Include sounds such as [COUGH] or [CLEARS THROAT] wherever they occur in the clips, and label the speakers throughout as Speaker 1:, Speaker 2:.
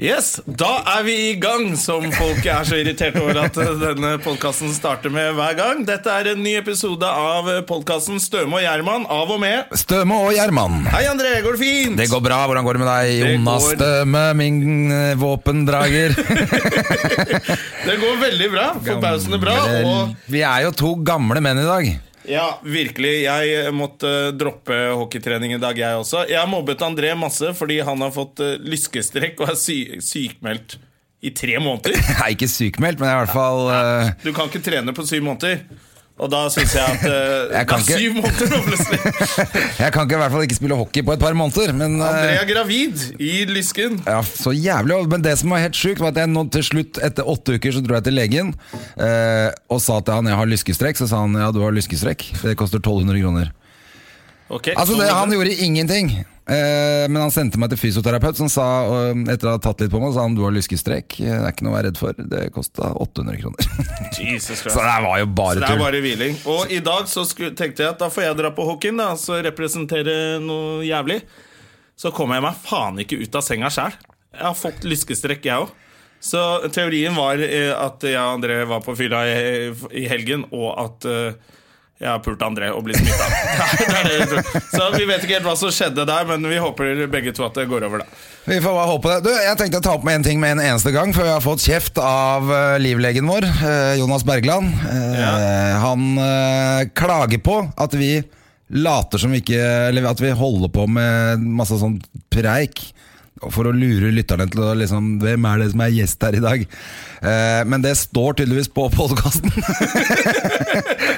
Speaker 1: Yes, Da er vi i gang, som folk er så irritert over at eh, denne podkasten starter med hver gang. Dette er en ny episode av podkasten Støme og Gjerman, av og med.
Speaker 2: Støme og Gjerman.
Speaker 1: Hei, André, går det fint?
Speaker 2: Det går bra. Hvordan går det med deg,
Speaker 1: Det
Speaker 2: Jonas
Speaker 1: går-
Speaker 2: Støme, min eh,
Speaker 1: [LAUGHS]
Speaker 2: våpendrager?
Speaker 1: Det går veldig bra. Forbausende bra. Og
Speaker 2: Vi er jo to gamle menn i dag.
Speaker 1: ja, virkelig, jeg måtte eh, droppe hockeytrening i dag, jeg også. Jeg har mobbet André masse fordi han har fått eh, lyskestrekk og er sy sykmeldt i tre måneder.
Speaker 2: Jeg er ikke sykmeldt, men jeg er i hvert fall eh,
Speaker 1: Du kan ikke trene på syv måneder. Og da syns jeg at eh,
Speaker 2: Jeg
Speaker 1: det
Speaker 2: kan
Speaker 1: er
Speaker 2: ikke.
Speaker 1: syv måneder nå, plutselig.
Speaker 2: Jeg kan ikke, i hvert fall ikke spille hockey på et par måneder. Men, eh,
Speaker 1: André er gravid i lysken.
Speaker 2: ja, så jævlig Men det som var helt sjukt, var at jeg nå til slutt, etter åtte uker, så dro jeg til legen eh, og sa til han jeg har lyskestrekk. Så sa han ja, du har lyskestrekk. Det koster 1200 kroner.
Speaker 1: Ok,
Speaker 2: Altså
Speaker 1: så-
Speaker 2: det, Han gjorde ingenting. Eh, men han sendte meg til fysioterapeut, som sa eh, etter å ha tatt litt på meg, sa han du har lyskestrek. eh, Det er ikke noe å være redd for. Det kosta 800 kroner. [LAUGHS]
Speaker 1: Jesus Christ.
Speaker 2: så det var jo
Speaker 1: Så
Speaker 2: bare
Speaker 1: det er
Speaker 2: tull.
Speaker 1: bare hviling. Og i dag så sku, tenkte jeg at da får jeg dra på hockeyen, da, så representere noe jævlig. Så kommer jeg meg faen ikke ut av senga sjæl. Jeg har fått lyskestrekk, jeg òg. Så teorien var eh, at jeg og André var på fylla i, i helgen, og at eh, jeg har pult André og blitt smitta. [LAUGHS] så vi vet ikke helt hva som skjedde der, men vi håper begge to at det går over, da.
Speaker 2: Vi får bare håpe det. Du, jeg tenkte å ta opp med en ting med en eneste gang, før jeg har fått kjeft av eh, livlegen vår, eh, Jonas Bergland. Eh, Han eh, klager på at vi later som vi ikke Eller at vi holder på med masse sånn preik. For å lure lytterne til å liksom Hvem er det som er gjest her i dag? Eh, men det står tydeligvis på podkasten. [LAUGHS]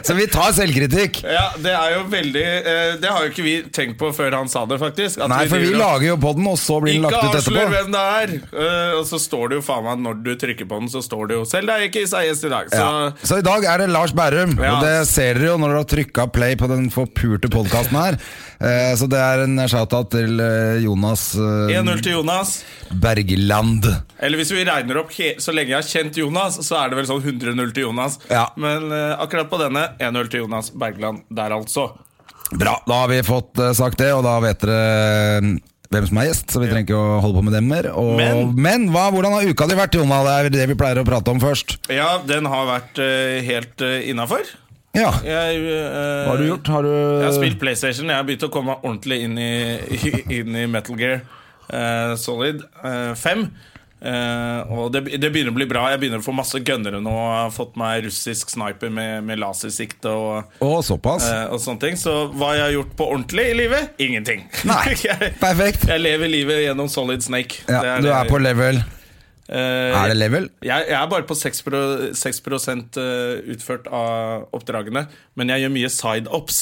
Speaker 2: Så vi tar selvkritikk.
Speaker 1: Ja, det er jo veldig eh, Det har jo ikke vi tenkt på før han sa det, faktisk. at
Speaker 2: Nei, for vi
Speaker 1: driver og-
Speaker 2: lager jo podden, og så blir den
Speaker 1: Ikke
Speaker 2: lagt ut etterpå.
Speaker 1: avslør hvem det er! Eh, og så står det jo faen meg når du trykker på den, så står det jo 'Selv deg ikke er gjest i dag'. Så
Speaker 2: Ja. Så i dag er det Lars Berrum,
Speaker 1: Ja.
Speaker 2: og det ser dere jo når dere har trykka play på den forpurte podkasten her. [LAUGHS] Eh, Så det er en shout-out til eh, Jonas eh,
Speaker 1: 1-0 til Jonas.
Speaker 2: Bergland.
Speaker 1: Eller hvis vi regner opp he så lenge jeg har kjent Jonas, så er det vel sånn 100-0 til Jonas.
Speaker 2: Ja.
Speaker 1: Men eh, akkurat på denne 1-0 til Jonas Bergland der, altså.
Speaker 2: Bra, da har vi fått eh, sagt det, og da vet dere eh, hvem som er gjest, så vi trenger ikke å holde på med dem mer. Og, men
Speaker 1: Men-
Speaker 2: hva, hvordan har uka di vært, Jonna? Det er det vi pleier å prate om først.
Speaker 1: Ja, den har vært eh, helt uh, innafor.
Speaker 2: Ja.
Speaker 1: Hva
Speaker 2: Hva har du gjort? Har du
Speaker 1: Eh, Jeg har spilt PlayStation. Jeg har begynt å komme meg ordentlig inn i, [LAUGHS] inn i Metal Gear eh, Solid eh, 5. Eh, og det, det begynner å bli bra. Jeg begynner å få masse gønnere nå. Jeg har fått meg russisk sniper med, med lasersikte og,
Speaker 2: Å, såpass?
Speaker 1: eh, og sånne ting. Så hva jeg har gjort på ordentlig i livet? Ingenting.
Speaker 2: Nei.
Speaker 1: [LAUGHS] jeg,
Speaker 2: Perfekt.
Speaker 1: jeg lever livet gjennom Solid Snake.
Speaker 2: Ja, du er på level.
Speaker 1: eh,
Speaker 2: Er det level?
Speaker 1: jeg, jeg er bare på 6, pro, 6% eh, utført av oppdragene, men jeg gjør mye side-ups.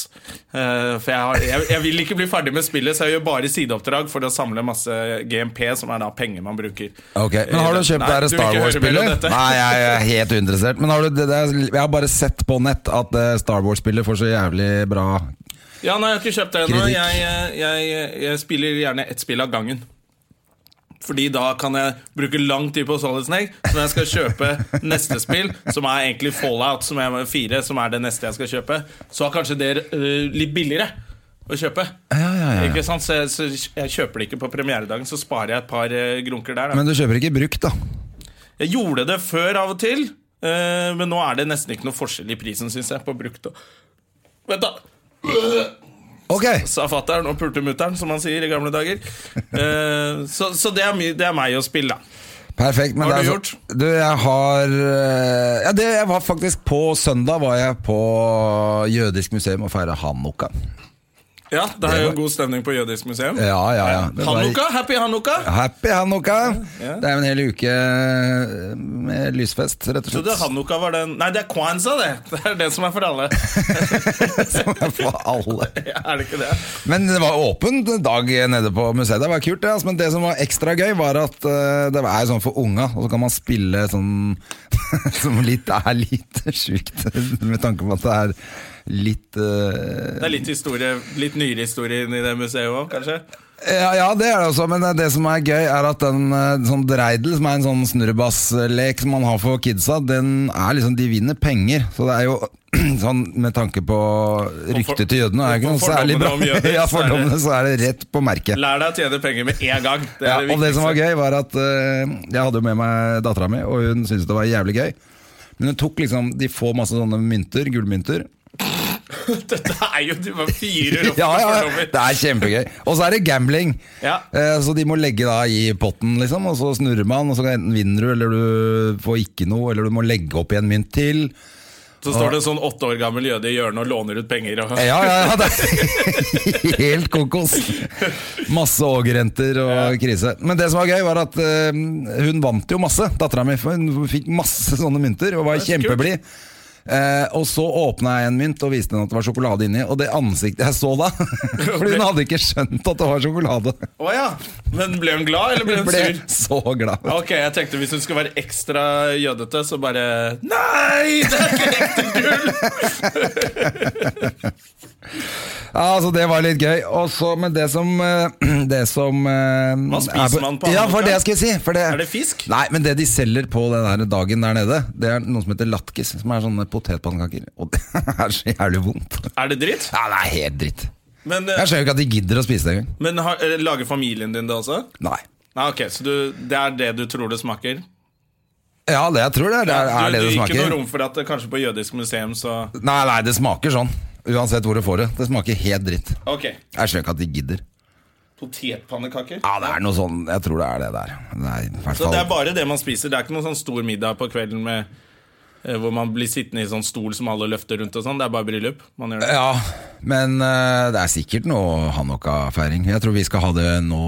Speaker 1: Eh, For jeg, har, jeg, jeg vil ikke bli ferdig med spillet, så jeg gjør bare sideoppdrag for å samle masse GMP, som er da penger man bruker.
Speaker 2: Ok, Men har du kjøpt
Speaker 1: Eh,
Speaker 2: det
Speaker 1: Nei,
Speaker 2: her
Speaker 1: du vil
Speaker 2: Star
Speaker 1: ikke høre mer om
Speaker 2: Wars-spillet?
Speaker 1: dette.
Speaker 2: Nei, jeg er helt uinteressert. Men har du, det, det er, jeg har bare sett på nett at eh, Star Wars-spillet får så jævlig bra
Speaker 1: Ja, nei, jeg har ikke kjøpt det ennå.
Speaker 2: Kritikk.
Speaker 1: Jeg, jeg, jeg, jeg spiller gjerne ett spill av gangen. Fordi da kan jeg bruke lang tid på Solid Snake. Så når jeg skal kjøpe neste spill, som er egentlig Fallout som er 4, som er det neste jeg skal kjøpe, så er kanskje det øh, litt billigere å kjøpe.
Speaker 2: ja, ja, ja.
Speaker 1: Ikke sant? Så, jeg, så jeg kjøper det ikke på premieredagen, så sparer jeg et par øh, grunker der. Da.
Speaker 2: Men du kjøper ikke brukt, da.
Speaker 1: Jeg gjorde det før av og til, eh, men nå er det nesten ikke noe forskjell i prisen, syns jeg, på brukt og Vent, da!
Speaker 2: Ok,
Speaker 1: sa fatter'n og pulte mutter'n, som han sier i gamle
Speaker 2: [LAUGHS]
Speaker 1: dager. Eh, så så det, er my det er meg å spille, da.
Speaker 2: perfekt. Men
Speaker 1: Hva har
Speaker 2: det er
Speaker 1: du
Speaker 2: så- Du, jeg har eh, Ja, det, jeg var faktisk på søndag var jeg på jødisk museum og feira hanukka.
Speaker 1: Ja, det er jo god stemning på jødisk museum.
Speaker 2: Ja, ja, ja. Det var-
Speaker 1: Hanukka, happy hanukka!
Speaker 2: Happy Hanukka!
Speaker 1: Ja.
Speaker 2: Det er jo en hel uke eh, med lysfest, rett og
Speaker 1: Jeg trodde
Speaker 2: slett.
Speaker 1: hanukka var den Nei, det er kwanza, det! [LAUGHS] Det er det som er for alle.
Speaker 2: [LAUGHS] Som er [LAUGHS] for alle.
Speaker 1: Ja, er det ikke det?
Speaker 2: Men det var åpen dag nede på museet. Det var kult, det. Altså. Men det som var ekstra gøy, var at eh, det er sånn for unga, og så kan man spille sånn [LAUGHS] som litt er litt sjukt, med tanke på at det er litt eh,
Speaker 1: Det er litt historie, litt nyere historie inni det museet òg, kanskje?
Speaker 2: ja, ja, det er det også, men eh, det som er gøy, er at den eh, sånn dreidel, som er en sånn snurrebasslek som man har for kidsa, den er liksom De vinner penger, så det er jo [CLEARS THROAT] sånn med tanke på ryktet til jødene, er det ikke
Speaker 1: for
Speaker 2: noe særlig
Speaker 1: fordommene
Speaker 2: bra.
Speaker 1: om jøder,
Speaker 2: [LAUGHS] Ja,
Speaker 1: så er det-
Speaker 2: fordommene, så er det rett på merket.
Speaker 1: Lær deg å tjene penger med en gang. Det er
Speaker 2: Ja,
Speaker 1: det
Speaker 2: og det som var
Speaker 1: viktigste.
Speaker 2: gøy, var at eh, jeg hadde jo med meg dattera mi, og hun syntes det var jævlig gøy. Men hun tok liksom De får masse sånne mynter, gullmynter.
Speaker 1: [LAUGHS] Dette er jo Du bare fyrer opp
Speaker 2: [LAUGHS] Ja, ja,
Speaker 1: fordommer.
Speaker 2: det er kjempegøy. Og så er det gambling.
Speaker 1: Ja.
Speaker 2: Eh, Så de må legge da i potten, liksom, og så snurrer man, og så enten vinner du, eller du får ikke noe, eller du må legge opp i en mynt til.
Speaker 1: Så står det en sånn åtte år gammel jøde i hjørnet og låner ut penger. Og...
Speaker 2: Ja, ja, ja,
Speaker 1: [LAUGHS]
Speaker 2: det er helt kokos. Masse ågerrenter og krise. Men det som var gøy, var at eh, hun vant jo masse, dattera mi. Hun fikk masse sånne mynter og var
Speaker 1: Det er så kult.
Speaker 2: kjempeblid. Eh, og så åpna jeg en mynt og viste henne at det var sjokolade inni. Og det ansiktet jeg så da [LAUGHS] Fordi hun hadde ikke skjønt at det var sjokolade.
Speaker 1: Å ja. Men ble hun glad, eller ble
Speaker 2: Hun
Speaker 1: hun
Speaker 2: ble
Speaker 1: sur?
Speaker 2: så glad.
Speaker 1: Ok, jeg tenkte Hvis hun skulle være ekstra jødete, så bare Nei! Det er ikke ekte gull!
Speaker 2: Ja, altså Det var litt gøy. Og så, men det som eh, [CLEARS THROAT] Det som Hva
Speaker 1: spiser man på
Speaker 2: Ja, for
Speaker 1: Hanukkah?
Speaker 2: det jeg skulle si. For det,
Speaker 1: Er det fisk?
Speaker 2: Nei, men det de selger på den her dagen der nede, det er noe som heter latkis. Som er sånne potetpannekaker. Og det [LAUGHS] er så jævlig vondt.
Speaker 1: Er det dritt?
Speaker 2: Ja, det er helt dritt.
Speaker 1: Men, eh,
Speaker 2: Jeg skjønner jo ikke at de gidder å spise det engang.
Speaker 1: men har, eh, lager familien din det også?
Speaker 2: Nei.
Speaker 1: Nei, ok, Så du, det er det du tror det smaker?
Speaker 2: Ja, det jeg tror det er, det er, er det
Speaker 1: du,
Speaker 2: det
Speaker 1: du, Ikke noe
Speaker 2: smaker.
Speaker 1: rom for at eh, kanskje på jødisk museum, så
Speaker 2: Nei, nei, det smaker sånn. Uansett hvor du får det. Det smaker helt dritt.
Speaker 1: Ok.
Speaker 2: Jeg skjønner ikke at de gidder.
Speaker 1: Potetpannekaker?
Speaker 2: Ja, det er noe sånn Jeg tror det er det der. Det er, i hvert
Speaker 1: Så det er
Speaker 2: fall-
Speaker 1: bare det man spiser. Det er ikke noen sånn stor middag på kvelden med eh, hvor man blir sittende i sånn stol som alle løfter rundt og sånn. Det er bare bryllup. Man gjør det.
Speaker 2: Ja, men eh, det er sikkert noe Hanukka-feiring. Jeg tror vi skal ha det nå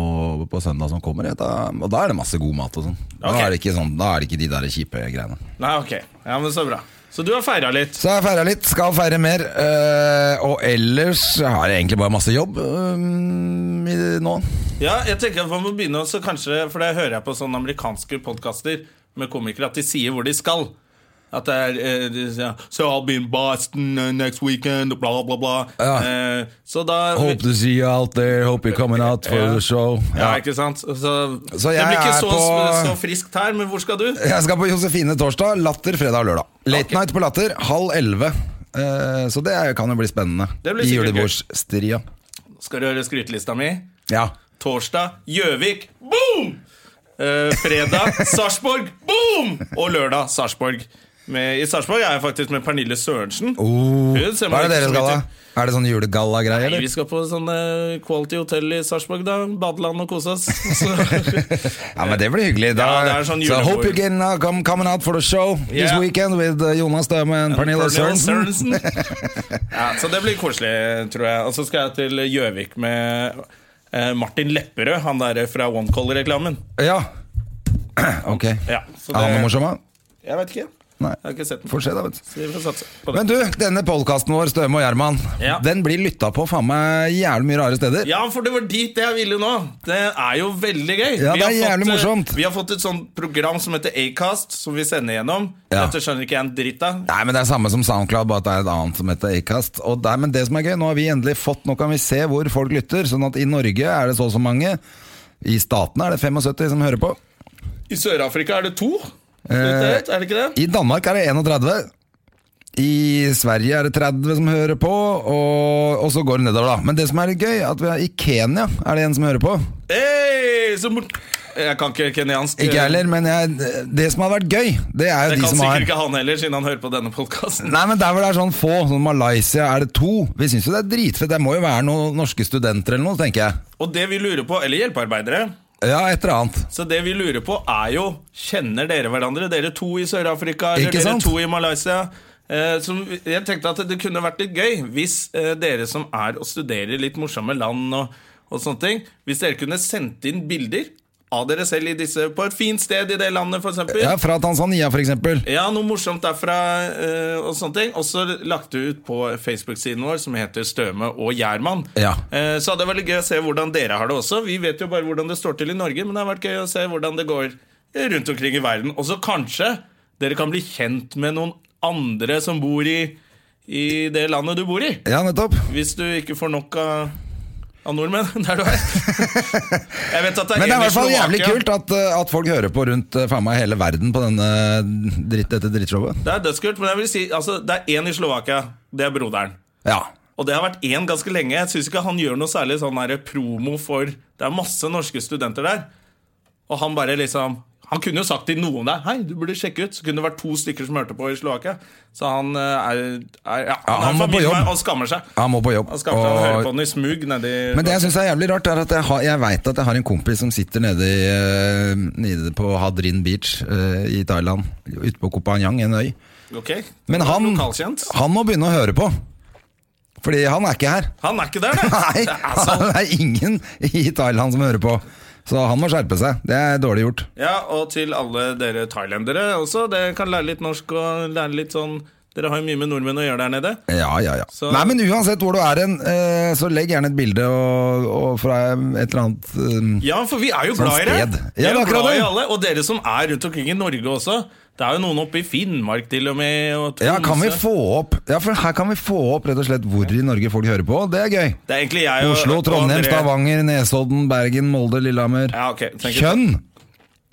Speaker 2: på søndag som kommer. jeg. Da, og da er det masse god mat og sånn. Da,
Speaker 1: Ok.
Speaker 2: er det ikke sånn. da er det ikke de der kjipe greiene.
Speaker 1: Nei, ok. Ja, men Så bra. Så du har feira litt.
Speaker 2: Så jeg feira litt, skal feire mer. eh, og ellers har jeg egentlig bare masse jobb eh, i, nå.
Speaker 1: Ja, jeg tenker at man må begynne også kanskje For det hører jeg på sånne amerikanske podkaster med komikere at de sier hvor de skal. At det er eh, de sier, So I'll be in Boston eh, next weekend, bla, bla, bla.
Speaker 2: Ja.
Speaker 1: Eh, så da
Speaker 2: Hope to see you out there, hope you're coming out for
Speaker 1: Ja.
Speaker 2: the show.
Speaker 1: ja,
Speaker 2: Ja.
Speaker 1: ikke sant? Så,
Speaker 2: Så
Speaker 1: det
Speaker 2: jeg
Speaker 1: blir ikke
Speaker 2: er
Speaker 1: så,
Speaker 2: på-
Speaker 1: så friskt her, men hvor skal du?
Speaker 2: Jeg skal på Josefine torsdag, Latter fredag og lørdag. Late
Speaker 1: Ok.
Speaker 2: night på Latter, halv elleve. Eh, så det er- kan jo bli spennende.
Speaker 1: Det blir
Speaker 2: I
Speaker 1: sikkert gøy.
Speaker 2: julebordsstria.
Speaker 1: Skal du høre skrytelista mi?
Speaker 2: Ja.
Speaker 1: Torsdag Gjøvik. Boom! Eh,
Speaker 2: [LAUGHS]
Speaker 1: fredag Sarpsborg. Boom! Og lørdag Sarpsborg. Med- I Sarpsborg er jeg faktisk med Pernille Sørensen.
Speaker 2: Oh,
Speaker 1: Hun ser
Speaker 2: hva
Speaker 1: man
Speaker 2: er det
Speaker 1: ikke
Speaker 2: dere
Speaker 1: så
Speaker 2: skal da?
Speaker 1: mye
Speaker 2: Er det sånn julegalla-greie,
Speaker 1: Nei,
Speaker 2: eller?
Speaker 1: vi skal på sånn eh, quality hotell i Sarpsborg, da. Badeland og kose [LAUGHS] oss. Så,
Speaker 2: Ja, men det blir hyggelig. Da,
Speaker 1: Ja, det er sånn
Speaker 2: så
Speaker 1: julebord.
Speaker 2: hope you can uh, come coming out for the show this
Speaker 1: Yeah.
Speaker 2: weekend with uh, Jonas Døme and Pernille Sørensen.
Speaker 1: [LAUGHS] ja, så det blir koselig, tror jeg. Og så skal jeg til Gjøvik med eh, Martin Lepperød, han der fra OneCall-reklamen.
Speaker 2: Ja. [CLEARS THROAT] Ok.
Speaker 1: Ja, så
Speaker 2: Er han noe
Speaker 1: det-
Speaker 2: morsom, da?
Speaker 1: Jeg vet ikke.
Speaker 2: Nei.
Speaker 1: Jeg har ikke sett den.
Speaker 2: Får se, da. vet du.
Speaker 1: Så vi får satse på det.
Speaker 2: Men du, denne podkasten vår, Støme og Gjerman,
Speaker 1: Ja.
Speaker 2: den blir lytta på faen meg jævlig mye rare steder.
Speaker 1: Ja, for det var dit jeg ville nå. Det er jo veldig
Speaker 2: Ja,
Speaker 1: gøy.
Speaker 2: det
Speaker 1: Vi
Speaker 2: er
Speaker 1: har fått,
Speaker 2: jævlig
Speaker 1: eh,
Speaker 2: morsomt.
Speaker 1: Vi har fått et sånt program som heter Acast, som vi sender gjennom.
Speaker 2: Ja.
Speaker 1: Dette skjønner ikke jeg en dritt av.
Speaker 2: Nei, men Det er samme som SoundCloud, bare at det er et annet som heter Acast. Og det, men det som er gøy, nå har vi endelig fått Nå kan vi se hvor folk lytter. Sånn at i Norge er det så og så mange. I statene er det 75 som hører på.
Speaker 1: I Sør-Afrika er det to.
Speaker 2: Eh,
Speaker 1: er det ikke det?
Speaker 2: I Danmark er det 31. I Sverige er det 30 som hører på, og, og så går det nedover, da. Men det som er litt gøy, at vi er i Kenya er det en som hører på.
Speaker 1: Hey, så mor- jeg kan ikke kenyansk.
Speaker 2: Ikke jeg heller, men jeg, det som har vært gøy, det er jo
Speaker 1: Det
Speaker 2: de
Speaker 1: kan
Speaker 2: som
Speaker 1: sikkert
Speaker 2: har
Speaker 1: ikke han heller, siden han hører på denne podkasten.
Speaker 2: Nei, men der hvor det er sånn få, sånn Malaysia er det to. Vi syns jo det er dritfett. Det må jo være noen norske studenter eller noe, tenker jeg.
Speaker 1: Og det vi lurer på, eller hjelpearbeidere
Speaker 2: Ja, et eller annet.
Speaker 1: Så det vi lurer på er jo Kjenner dere hverandre? Dere to i Sør-Afrika, eller
Speaker 2: Ikke
Speaker 1: dere
Speaker 2: sant?
Speaker 1: to i Malaysia? Eh, som jeg tenkte at det kunne vært litt gøy hvis eh, dere som er og studerer litt morsomme land og, og sånne ting, hvis dere kunne sendt inn bilder av dere selv i disse, på et fint sted i det landet, f.eks.
Speaker 2: Ja, Fra Tanzania, for eksempel.
Speaker 1: Ja, noe morsomt derfra eh, og sånne ting. Og så lagt det ut på Facebook-siden vår som heter Støme og Gjerman.
Speaker 2: Ja.
Speaker 1: Eh, så hadde det vært litt gøy å se hvordan dere har det også. Vi vet jo bare hvordan det står til i Norge, men det har vært gøy å se hvordan det går rundt omkring i verden. Og så kanskje dere kan bli kjent med noen andre som bor i, i det landet du bor i.
Speaker 2: Ja, nettopp.
Speaker 1: Hvis du ikke får nok av, av nordmenn [LAUGHS] der du er. Jeg vet at det er
Speaker 2: Men det er i hvert fall jævlig
Speaker 1: Slovakia.
Speaker 2: kult at, eh, at folk hører på rundt eh, faen meg hele verden på denne eh, dritt, dette drittshowet.
Speaker 1: Det er dødskult, men jeg vil si altså, det er én i Slovakia. Det er broderen.
Speaker 2: Ja.
Speaker 1: Og det har vært én ganske lenge. Jeg syns ikke han gjør noe særlig sånn der promo for Det er masse norske studenter der. Og han bare liksom Han kunne jo sagt til noen der Hei, du burde sjekke ut. Så kunne det vært to stykker som hørte på i Slovakia. Så han eh, er, er ja,
Speaker 2: Ja,
Speaker 1: han,
Speaker 2: han
Speaker 1: er
Speaker 2: må på
Speaker 1: familie med
Speaker 2: jobb.
Speaker 1: meg og skammer seg.
Speaker 2: Han må på jobb.
Speaker 1: Han skammer seg og hører på
Speaker 2: Og-
Speaker 1: den i smug nedi
Speaker 2: Men det jeg syns er jævlig rart, er at jeg, har, jeg veit at jeg har en kompis som sitter nede, i, eh, nede på Hadrin Beach eh, i Thailand. Ute på Koh Phangan, en øy.
Speaker 1: Ok.
Speaker 2: Men han,
Speaker 1: Lokalkjent.
Speaker 2: han må begynne å høre på. Fordi han er ikke her. [LAUGHS]
Speaker 1: Han er ikke der, det.
Speaker 2: Nei,
Speaker 1: det er altså- sant.
Speaker 2: det er ingen i Thailand som hører på. Så han må skjerpe seg. Det er dårlig gjort.
Speaker 1: Ja, og til alle dere thailendere også. Dere kan lære litt norsk og lære litt sånn Dere har jo mye med nordmenn å gjøre der nede.
Speaker 2: Ja, ja, ja.
Speaker 1: Så-
Speaker 2: Nei, men uansett hvor du er hen, eh, så legg gjerne et bilde og, og fra et eller annet eh,
Speaker 1: Ja, for vi er jo
Speaker 2: Sånn
Speaker 1: glad i det.
Speaker 2: sted.
Speaker 1: Vi
Speaker 2: Ja,
Speaker 1: er
Speaker 2: det er
Speaker 1: jo
Speaker 2: akkurat
Speaker 1: glad i
Speaker 2: det.
Speaker 1: alle, Og dere som er rundt omkring i Norge også. Det er jo noen oppe i Finnmark til og med. Og Tromsø.
Speaker 2: ja, kan vi få opp Ja, for her kan vi få opp rett og slett hvor i Norge folk hører på. Det er gøy.
Speaker 1: Det er egentlig jeg og
Speaker 2: Oslo,
Speaker 1: og
Speaker 2: Trondheim,
Speaker 1: André.
Speaker 2: Stavanger, Nesodden, Bergen, Molde, Lillehammer.
Speaker 1: Ja, ok, tenker jeg.
Speaker 2: Kjønn!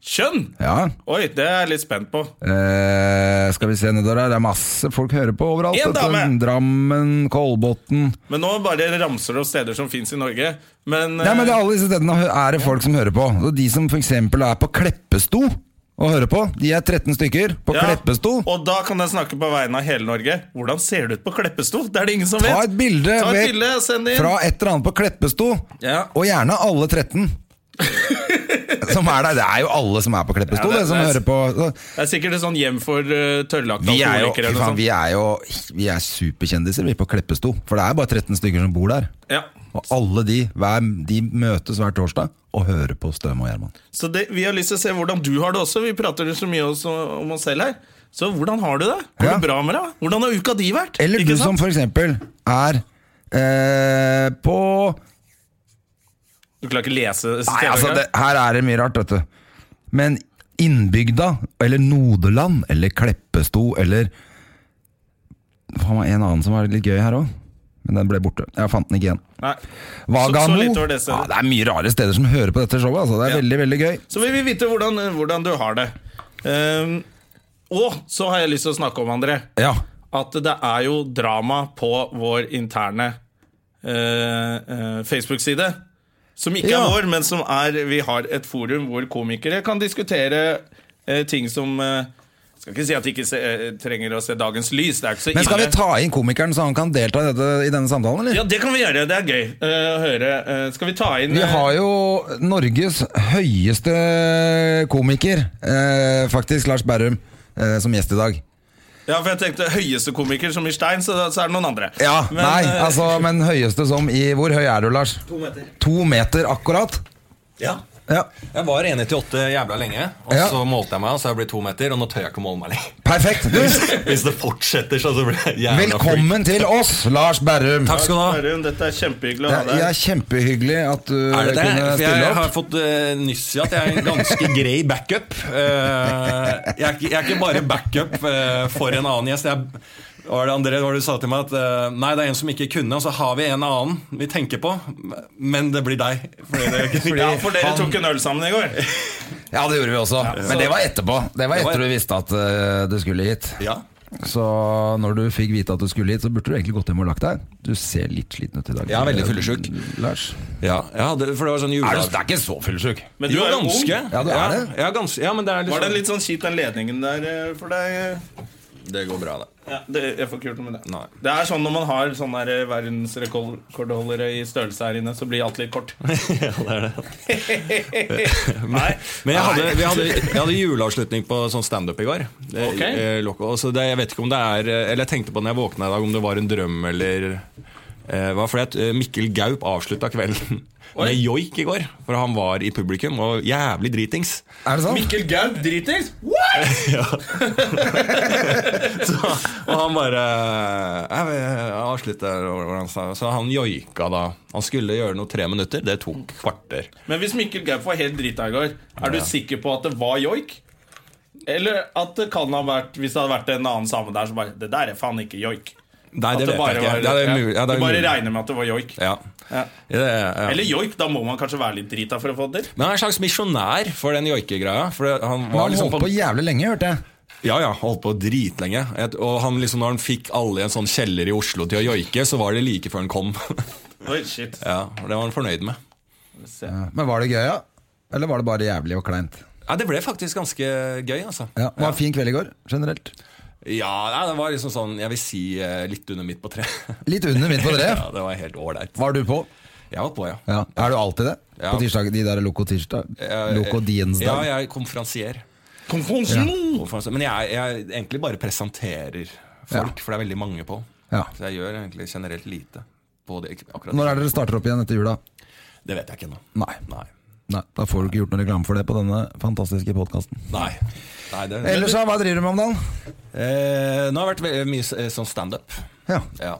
Speaker 1: Kjønn!
Speaker 2: Ja.
Speaker 1: Oi, det er jeg litt spent på.
Speaker 2: Eh, skal vi se nedover her. Det er masse folk hører på overalt.
Speaker 1: En
Speaker 2: vet du.
Speaker 1: dame!
Speaker 2: Drammen, Kolbotn
Speaker 1: Men nå bare ramser det opp steder som fins i Norge. Men,
Speaker 2: Nei, men det er alle disse stedene er det folk som hører på. Og de som f.eks. er på Kleppesto og hører på, de er 13 stykker på
Speaker 1: Ja,
Speaker 2: Kleppesto.
Speaker 1: Og da kan jeg snakke på vegne av hele Norge. Hvordan ser det ut på Kleppesto? Det er det ingen som vet.
Speaker 2: Ta et bilde,
Speaker 1: Ta et
Speaker 2: ved-
Speaker 1: bilde send inn.
Speaker 2: fra et eller annet på Kleppesto,
Speaker 1: Ja.
Speaker 2: og gjerne alle 13.
Speaker 1: [LAUGHS]
Speaker 2: som er der. Det er jo alle som er på Kleppesto,
Speaker 1: Ja,
Speaker 2: det,
Speaker 1: det-
Speaker 2: som
Speaker 1: det er-
Speaker 2: hører på. Så,
Speaker 1: Det er sikkert et sånn hjem for uh, tørrlagte
Speaker 2: Vi er jo,
Speaker 1: alkoholikere.
Speaker 2: fy
Speaker 1: eller noe
Speaker 2: faen,
Speaker 1: sånt.
Speaker 2: vi er jo vi er superkjendiser vi på Kleppesto, for det er bare 13 stykker som bor der.
Speaker 1: Ja.
Speaker 2: Og alle de, hver, de møtes hver torsdag og hører på Støme og Gjerman.
Speaker 1: Så det, vi har lyst til å se hvordan du har det også. Vi prater jo så mye også om oss selv her. Så hvordan har du det? Går
Speaker 2: Ja.
Speaker 1: det bra med deg? Hvordan har uka di vært?
Speaker 2: Eller
Speaker 1: Ikke
Speaker 2: du som
Speaker 1: sant?
Speaker 2: for eksempel er eh, på
Speaker 1: Du klarer ikke lese
Speaker 2: Nei, altså,
Speaker 1: skrevet
Speaker 2: det, her er det mye rart, vet du. Men Innbygda, eller Nodeland, eller Kleppesto, eller Faen meg en annen som var litt gøy her òg. Men den ble borte. Jeg fant den ikke igjen.
Speaker 1: Nei. Så-
Speaker 2: Vagamo.
Speaker 1: så litt over det stedet.
Speaker 2: ja, det er mye rare steder som hører på dette showet. Altså. Det er
Speaker 1: Ja.
Speaker 2: veldig, veldig gøy.
Speaker 1: Så vi vil vite hvordan, hvordan du har det. Ehm, og så har jeg lyst til å snakke om, André,
Speaker 2: Ja.
Speaker 1: at det er jo drama på vår interne eh, eh, Facebook-side. Som ikke
Speaker 2: Ja.
Speaker 1: er vår, men som er Vi har et forum hvor komikere kan diskutere eh, ting som eh, Skal ikke si at de ikke se, eh, trenger å se dagens lys. Det er ikke så
Speaker 2: Men skal vi
Speaker 1: ille.
Speaker 2: ta inn komikeren så han kan delta i, dette, i denne samtalen, eller?
Speaker 1: Ja, det kan vi gjøre. Det er gøy eh, å høre. Eh, skal vi ta inn
Speaker 2: Vi
Speaker 1: eh,
Speaker 2: har jo Norges høyeste komiker, eh, faktisk, Lars Berrum, eh, som gjest i dag.
Speaker 1: eh, Ja, for jeg tenkte høyeste komiker som i Stein, så, så er det noen andre.
Speaker 2: Ja,
Speaker 1: Men,
Speaker 2: nei,
Speaker 1: eh,
Speaker 2: altså, men høyeste som i Hvor høy er du, Lars?
Speaker 3: To meter.
Speaker 2: To meter akkurat.
Speaker 3: Ja.
Speaker 2: Ja,
Speaker 3: Jeg var 1,98 jævla lenge, og
Speaker 2: Ja.
Speaker 3: så målte jeg meg, og så har jeg blitt to meter, og nå tør jeg ikke å måle meg lenger. [LAUGHS]
Speaker 2: Perfekt. Du,
Speaker 3: Hvis det fortsetter, så blir jeg jævla
Speaker 2: velkommen til oss, Lars Berrum.
Speaker 3: Takk skal du ha.
Speaker 1: Børum, Dette er kjempehyggelig å ha
Speaker 2: Det
Speaker 1: deg
Speaker 2: er kjempehyggelig at du
Speaker 3: Er det det?
Speaker 2: eh, kunne
Speaker 3: For
Speaker 2: stille
Speaker 3: jeg har
Speaker 2: opp.
Speaker 3: fått eh, nyss i at jeg er en ganske grei backup. Eh, jeg, er ikke- jeg er ikke bare backup eh, for en annen gjest. Jeg, var det André, var det du sa til meg at eh, Nei, det er en som ikke kunne, og så har vi en annen vi tenker på, men det blir deg. Fordi
Speaker 2: [LAUGHS]
Speaker 3: det,
Speaker 1: Ja, for dere tok en øl sammen i går.
Speaker 2: Ja, det gjorde vi også. Men det var etterpå. Det var etter du visste at eh, du skulle hit.
Speaker 3: Ja.
Speaker 2: Så når du fikk vite at du skulle hit, så burde du egentlig gått hjem og lagt deg. Du ser litt sliten ut i dag.
Speaker 3: Jeg er veldig fyllesyk.
Speaker 2: Lars.
Speaker 3: Ja, ja, det, for det var sånn
Speaker 2: Er du,
Speaker 3: juledag.
Speaker 2: det er ikke så fyllesyk.
Speaker 1: Men du
Speaker 3: Jo,
Speaker 1: er jo ung.
Speaker 3: ganske.
Speaker 2: Ja, du er det.
Speaker 3: Ja, ganske. ja, men det er
Speaker 1: Var det sånn
Speaker 3: liksom
Speaker 1: litt sånn kjipt den ledningen der eh, for deg? eh?
Speaker 4: Det går bra, det.
Speaker 1: Ja, det, jeg får ikke gjort noe med det.
Speaker 3: Nei.
Speaker 1: Det er sånn Når man har sånne der verdensrekordholdere i størrelse her inne, så blir alt litt kort.
Speaker 3: [LAUGHS] Ja, det er det.
Speaker 1: [LAUGHS] Nei,
Speaker 3: Men jeg hadde, vi hadde, jeg hadde juleavslutning på sånn standup i går. Det,
Speaker 1: Ok.
Speaker 3: eh, Loco. Så det, jeg vet ikke om det er eh, Eller jeg tenkte på når jeg våkna i dag, om det var en drøm eller eh, hva for det? Eh, Mikkel Gaup avslutta kvelden [LAUGHS] med joik i går, for han var i publikum og jævlig dritings.
Speaker 2: Er det sant?
Speaker 1: Mikkel Gaup dritings! What?!
Speaker 3: Så, og han bare jeg vet- jeg avslutter over hva han sa. Så han joika da. Han skulle gjøre noe tre minutter. Det tok kvarter.
Speaker 1: Men hvis Mikkel Gaup var helt drita i går, er du sikker på at det var joik? Eller at det kan ha vært hvis det hadde vært en annen same der som bare Det der er faen ikke joik.
Speaker 3: Nei,
Speaker 1: At
Speaker 3: det,
Speaker 1: det
Speaker 3: vet
Speaker 1: bare
Speaker 3: jeg ikke.
Speaker 1: var-
Speaker 3: Ja, det er mulig. Ja,
Speaker 1: Du
Speaker 3: det er
Speaker 1: bare
Speaker 3: mulig.
Speaker 1: regner med at det var joik.
Speaker 3: Ja.
Speaker 1: Ja.
Speaker 3: Det, ja.
Speaker 1: Eller joik, da må man kanskje være litt drita for å få det til.
Speaker 3: Men han er en slags misjonær for den joikegreia. For det- han
Speaker 2: Men
Speaker 3: var
Speaker 2: Han
Speaker 3: liksom
Speaker 2: holdt på jævlig lenge, hørte jeg.
Speaker 3: Ja, ja, holdt på dritlenge. Et- Og han liksom, når han fikk alle i en sånn kjeller i Oslo til å joike, så var det like før han kom. [LAUGHS]
Speaker 1: Oi, shit.
Speaker 3: ja, og Det var han fornøyd med.
Speaker 1: Se.
Speaker 2: Men var det gøy, ja? Eller var det bare jævlig og kleint?
Speaker 3: Ja, Det ble faktisk ganske gøy, altså.
Speaker 2: Ja, det var en fin kveld i går, generelt.
Speaker 3: Ja, nei, det var liksom sånn, jeg vil si eh, litt under midt på treet.
Speaker 2: Litt under midt på tre.
Speaker 3: [LAUGHS] Ja, det var helt ålreit.
Speaker 2: Var du på?
Speaker 3: Jeg var på, ja.
Speaker 2: Ja. Er du alltid det?
Speaker 3: Ja.
Speaker 2: På tirsdag, de der Loco tirsdag?
Speaker 3: Jeg-
Speaker 2: Loco
Speaker 3: Eh, Ja,
Speaker 2: Diensdag?
Speaker 3: jeg er konferansier.
Speaker 1: Konfonsjon!
Speaker 3: Konferansier. Men jeg, jeg egentlig bare presenterer folk, for det er veldig mange på.
Speaker 2: Ja.
Speaker 3: Så jeg gjør egentlig generelt lite på det. akkurat
Speaker 2: Når er det dere starter opp igjen etter jula?
Speaker 3: Det vet jeg ikke ennå.
Speaker 2: Nei.
Speaker 3: Nei.
Speaker 2: Nei, Da får du ikke gjort noe reklame for det på denne fantastiske podkasten.
Speaker 3: Nei. Nei det,
Speaker 2: Ellers, da, hva driver du med om dagen?
Speaker 3: eh, nå har det vært ve- mye s- eh, sånn standup.
Speaker 2: Ja.
Speaker 3: Ja.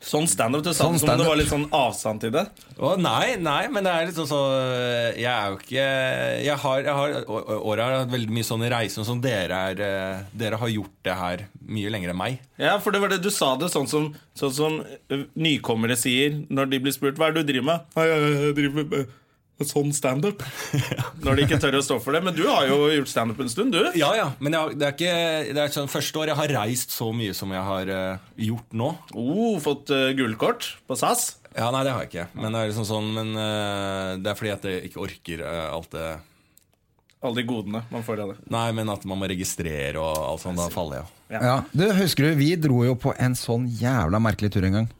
Speaker 1: Sånn standup. Det sa
Speaker 2: Sånn
Speaker 1: som om det
Speaker 2: standup.
Speaker 1: var litt sånn avstand til det.
Speaker 3: Å, nei, nei, men det er litt sånn så Jeg er jo ikke Jeg har, jeg har å- å- året har hatt veldig mye sånne reiser sånn som dere er eh, Dere har gjort det her mye lenger enn meg.
Speaker 1: Ja, for det var det du sa det sånn som, sånn som ø, nykommere sier når de blir spurt hva er det du driver med. Nei, jeg, jeg driver med med
Speaker 2: [LAUGHS]
Speaker 1: sånn standup. Når de ikke tør å stå for det. Men du har jo gjort standup en stund, du.
Speaker 3: Ja, ja, men jeg, har- det er ikke Det er sånn første år jeg har reist så mye som jeg har eh, gjort nå.
Speaker 1: Oh, fått ø, gullkort på SAS.
Speaker 3: Ja, nei, det har jeg ikke. Men det er liksom sånn Men eh, det er fordi at jeg ikke orker eh, alt det
Speaker 1: Alle de godene man får av det.
Speaker 3: Nei, men at man må registrere og alt sånt. Da faller jeg.
Speaker 2: Ja. Du, Husker du, vi dro jo på en sånn jævla merkelig tur en gang.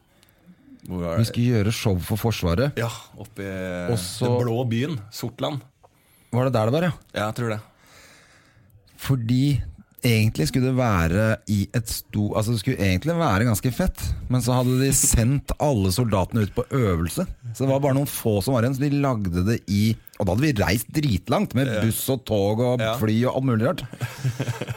Speaker 3: Hvor var
Speaker 2: Vi
Speaker 3: det?
Speaker 2: skulle gjøre show for Forsvaret.
Speaker 3: Ja, oppe i
Speaker 2: Og så-
Speaker 3: den blå byen. Sortland.
Speaker 2: Var det der det var, ja?
Speaker 3: Ja, jeg tror det.
Speaker 2: Fordi egentlig skulle det være i et sto... Altså det skulle egentlig være ganske fett, men så hadde de sendt alle soldatene ut på øvelse. Så det var bare noen få som var igjen, så de lagde det i Og da hadde vi reist dritlangt med buss og tog og
Speaker 3: Ja.
Speaker 2: fly og alt mulig rart.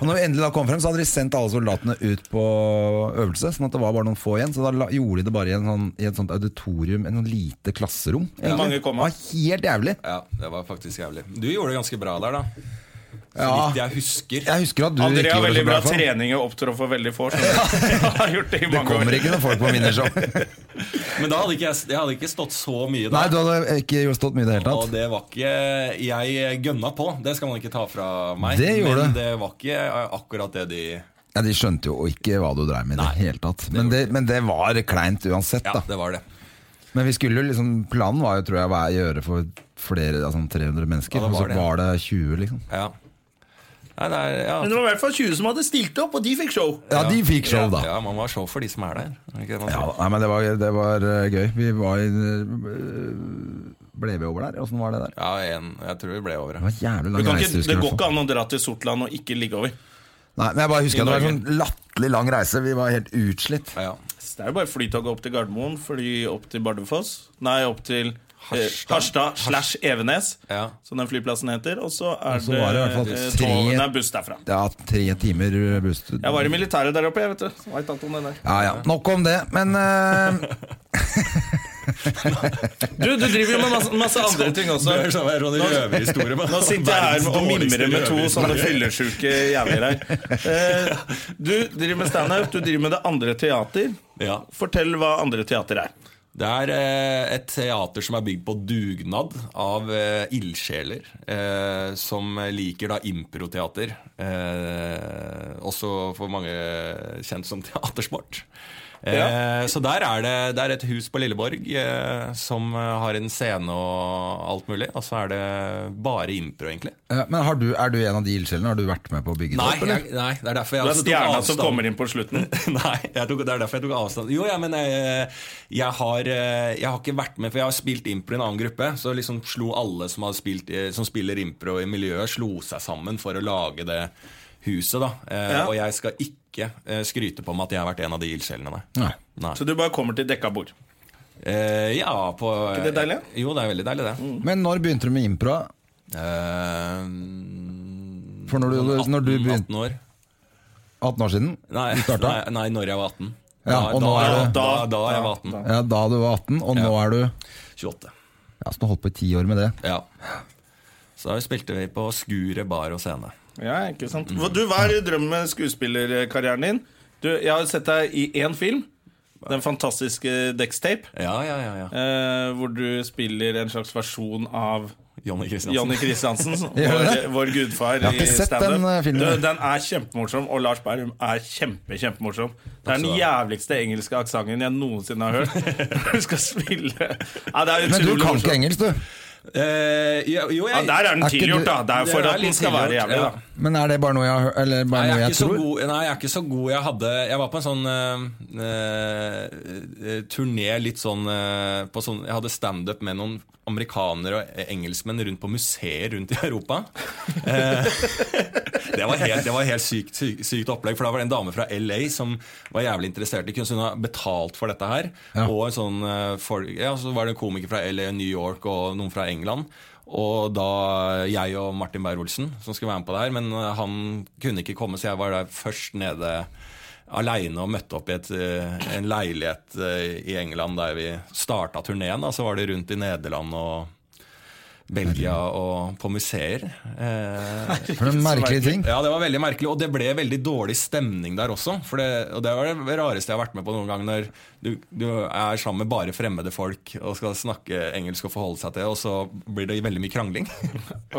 Speaker 2: Og når vi endelig da kom frem, så hadde de sendt alle soldatene ut på øvelse, sånn at det var bare noen få igjen. Så da la- gjorde de det bare i, en sånn, i et sånt auditorium, en sånn lite klasserom. egentlig.
Speaker 1: mange kom,
Speaker 2: det var helt jævlig.
Speaker 3: Ja, Det var faktisk jævlig. Du gjorde det ganske bra der, da. Så
Speaker 2: Ja.
Speaker 3: vidt jeg husker.
Speaker 2: Jeg husker at du
Speaker 1: André
Speaker 2: ikke
Speaker 1: har
Speaker 2: gjorde det
Speaker 1: veldig
Speaker 2: så
Speaker 1: bra
Speaker 2: i hvert fall.
Speaker 1: trening og opptrår for veldig få. så
Speaker 2: [LAUGHS]
Speaker 1: [LAUGHS] jeg har gjort det i
Speaker 2: Det
Speaker 1: mange
Speaker 2: kommer
Speaker 1: år.
Speaker 2: ikke noen folk på
Speaker 1: [LAUGHS]
Speaker 2: minishow.
Speaker 3: Men da hadde ikke jeg, jeg hadde ikke stått så mye
Speaker 2: Nei,
Speaker 3: der.
Speaker 2: du hadde ikke gjort stått mye i det hele
Speaker 3: og
Speaker 2: tatt.
Speaker 3: det var ikke Jeg gønna på. Det skal man ikke ta fra meg.
Speaker 2: Det gjorde
Speaker 3: men
Speaker 2: det.
Speaker 3: det var ikke eh, akkurat det de
Speaker 2: Ja, de skjønte jo ikke hva du dreiv med i det hele tatt. Men det, men det var kleint uansett,
Speaker 3: Ja,
Speaker 2: da.
Speaker 3: det var det.
Speaker 2: Men vi skulle jo liksom Planen var jo, tror jeg, å være- gjøre for flere, altså 300 mennesker.
Speaker 3: Ja, det
Speaker 2: Og
Speaker 3: var
Speaker 2: så
Speaker 3: det.
Speaker 2: var det 20, liksom.
Speaker 3: Ja. Nei, det er ja.
Speaker 1: Men det var i hvert fall 20 som hadde stilt opp, og de fikk show.
Speaker 2: Ja, de fikk show, da.
Speaker 3: ja, man må ha show for de som er der. Er det ikke det man
Speaker 2: Ja,
Speaker 3: sier?
Speaker 2: da. nei, men det var, det var eh, gøy. Vi var i eh, Ble vi over der? Åssen var det der?
Speaker 3: Ja, en, jeg tror vi ble over.
Speaker 2: Det var jævlig
Speaker 1: Du
Speaker 2: lang
Speaker 1: kan
Speaker 2: reise.
Speaker 1: ikke,
Speaker 2: husker
Speaker 1: det
Speaker 2: jeg, i
Speaker 1: går
Speaker 2: hvert
Speaker 1: ikke
Speaker 2: fall.
Speaker 1: an å dra til Sortland og ikke ligge over.
Speaker 2: Nei, men jeg bare husker
Speaker 1: I
Speaker 2: at det var en
Speaker 1: Norge.
Speaker 2: sånn latterlig lang reise. Vi var helt utslitt.
Speaker 3: Ja, ja.
Speaker 1: Så Det er jo bare flytoget opp til Gardermoen, fly opp til Bardufoss Nei, opp til Harstad,
Speaker 3: Harstad.
Speaker 1: Harstad slash Evenes,
Speaker 3: Ja.
Speaker 1: som den flyplassen heter. Og så er
Speaker 2: Og så var det i hvert fall
Speaker 1: det eh,
Speaker 2: tre-
Speaker 1: tog- nei, buss derfra.
Speaker 2: Ja, tre timer busstur.
Speaker 1: Jeg var i militæret der oppe, jeg, vet du. Så vet alt om det der.
Speaker 2: Ja, ja. Nok om det. Men eh,
Speaker 1: Du, du driver jo med masse, masse andre ting også.
Speaker 3: Det er sånn her Ronny Røver-historie. men-
Speaker 1: Nå sitter jeg her og
Speaker 3: Verdens
Speaker 1: mimrer med to
Speaker 3: dårligste
Speaker 1: sånne
Speaker 3: røverhistorie.
Speaker 1: fyllesjuke jævler her. Eh, Du driver med standup, du driver med det andre teater.
Speaker 3: Ja.
Speaker 1: Fortell hva andre teater er.
Speaker 3: Det er eh, et teater som er bygd på dugnad av eh, ildsjeler eh, som liker da improteater. Eh, også for mange kjent som teatersport. Eh, Så der er det, det er et hus på Lilleborg eh, som eh, har en scene og alt mulig. Og så er det bare impro, egentlig.
Speaker 2: Ja, men har du, er du en av de ildsjelene? Har du vært med på å bygge det
Speaker 3: Nei,
Speaker 2: opp? eller?
Speaker 3: jeg, nei, det er derfor
Speaker 1: Det
Speaker 3: jeg
Speaker 1: er
Speaker 3: altså tok
Speaker 1: stjerna som
Speaker 3: avstand.
Speaker 1: kommer inn på slutten.
Speaker 3: [LAUGHS] Nei, jeg tok, det er derfor jeg tok avstand. Jo, ja, men jeg, jeg, har, eh, jeg har ikke vært med, for jeg har spilt impro i en annen gruppe. Så liksom slo alle som, har spilt, eh, som spiller impro i miljøet, slo seg sammen for å lage det huset. da Eh,
Speaker 1: Ja.
Speaker 3: Og jeg skal ikke eh, skryte på meg at jeg har vært en av de ildsjelene.
Speaker 2: Nei.
Speaker 3: Nei.
Speaker 1: Så du bare kommer til dekka bord.
Speaker 3: Eh, ja, på eh,
Speaker 1: ikke det deilig? Mm.
Speaker 3: Jo, det er veldig deilig, det.
Speaker 2: Men når begynte du med impro?
Speaker 3: Eh,
Speaker 2: For når du, når du begynte
Speaker 3: 18 år.
Speaker 2: 18 år siden?
Speaker 3: Nei,
Speaker 2: Du starta?
Speaker 3: [LAUGHS] nei, nei, når jeg var 18.
Speaker 2: Ja, og nå er
Speaker 3: da,
Speaker 2: du-
Speaker 3: da, da jeg var 18.
Speaker 2: Ja, da du var 18, og nå er du
Speaker 3: 28.
Speaker 2: Ja, Så du har holdt på i ti år med det.
Speaker 3: Ja. Så da spilte vi på Skuret bar og scene.
Speaker 1: Ja, ikke sant Hva- Du, Hva er drømmen med skuespillerkarrieren din? Du, Jeg har sett deg i én film, den fantastiske Dextape,
Speaker 3: Ja, ja, ja. ja.
Speaker 1: eh, hvor du spiller en slags versjon av
Speaker 3: Johnny Kristiansen.
Speaker 1: Johnny
Speaker 2: [LAUGHS]
Speaker 1: Kristiansen,
Speaker 2: Gjør du
Speaker 1: vår,
Speaker 2: det?
Speaker 1: vår gudfar
Speaker 2: har ikke
Speaker 1: i
Speaker 2: sett
Speaker 1: standup.
Speaker 2: den, eh, filmen.
Speaker 1: Du, Den er kjempemorsom, og Lars Berrum er kjempe, kjempemorsom. Det er den jævligste engelske aksenten jeg noensinne har hørt. [LAUGHS] Når du skal spille ja, det er
Speaker 2: Men du kan
Speaker 1: utrolig morsomt.
Speaker 2: ikke engelsk, du.
Speaker 3: Eh, jo, jo,
Speaker 1: Ja,
Speaker 3: jeg,
Speaker 1: der er
Speaker 2: Er
Speaker 1: den
Speaker 2: ikke du-
Speaker 1: tilgjort, da. Det er for
Speaker 3: Det er
Speaker 1: at den
Speaker 3: litt
Speaker 1: skal være
Speaker 3: tilgjort,
Speaker 1: jævlig,
Speaker 3: ja.
Speaker 1: da.
Speaker 2: Men er det bare noe jeg, har hø- eller bare
Speaker 3: Nei,
Speaker 2: noe
Speaker 3: jeg er
Speaker 2: jeg
Speaker 3: ikke så
Speaker 2: tror?
Speaker 3: god, nei, jeg er ikke så god. Jeg hadde Jeg var på en sånn eh, eh, turné litt sånn, eh, på sånn Jeg hadde standup med noen amerikanere og engelskmenn rundt på museer rundt i Europa. Eh, det var helt, det var helt sykt, sykt, sykt opplegg, for da var det en dame fra LA som var jævlig interessert i kunst. Hun har betalt for dette her. Og en sånn, eh, folk- ja, så var det en komiker fra LA, New York og noen fra England. Og da jeg og Martin Beyer-Olsen, som skulle være med på det her, men eh, han kunne ikke komme, så jeg var der først nede aleine og møtte opp i et, eh, en leilighet eh, i England der vi starta turneen. Så var det rundt i Nederland og Belgia og på museer. Eh,
Speaker 2: For en merkelig ting.
Speaker 3: ja, det var veldig merkelig, og det ble veldig dårlig stemning der også. For det, og det var det rareste jeg har vært med på noen gang, når du, du er sammen med bare fremmede folk og skal snakke engelsk og forholde seg til det, og så blir det veldig mye krangling.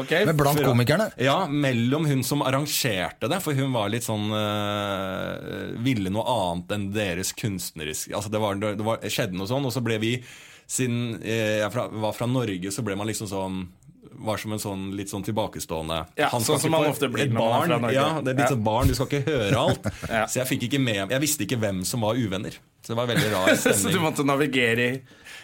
Speaker 1: Ok,
Speaker 2: Men blant komikerne.
Speaker 3: Ja, mellom hun som arrangerte det, for hun var litt sånn øh, Ville noe annet enn deres kunstneriske Altså, det, var, det var, skjedde noe sånn, og så ble vi Siden eh, jeg fra, var fra Norge, så ble man liksom sånn var som en sånn litt sånn tilbakestående
Speaker 1: Ja,
Speaker 3: skal
Speaker 1: sånn som
Speaker 3: ikke
Speaker 1: man
Speaker 3: få-
Speaker 1: ofte blir
Speaker 3: et
Speaker 1: når man er
Speaker 3: barn,
Speaker 1: fra Norge.
Speaker 3: Ja, det er litt
Speaker 1: Ja.
Speaker 3: sånn barn, du skal ikke høre alt.
Speaker 1: [LAUGHS] Ja.
Speaker 3: Så jeg fikk ikke med Jeg visste ikke hvem som var uvenner. Så det var veldig rar
Speaker 1: [LAUGHS] Så du
Speaker 3: stemning.
Speaker 1: måtte navigere i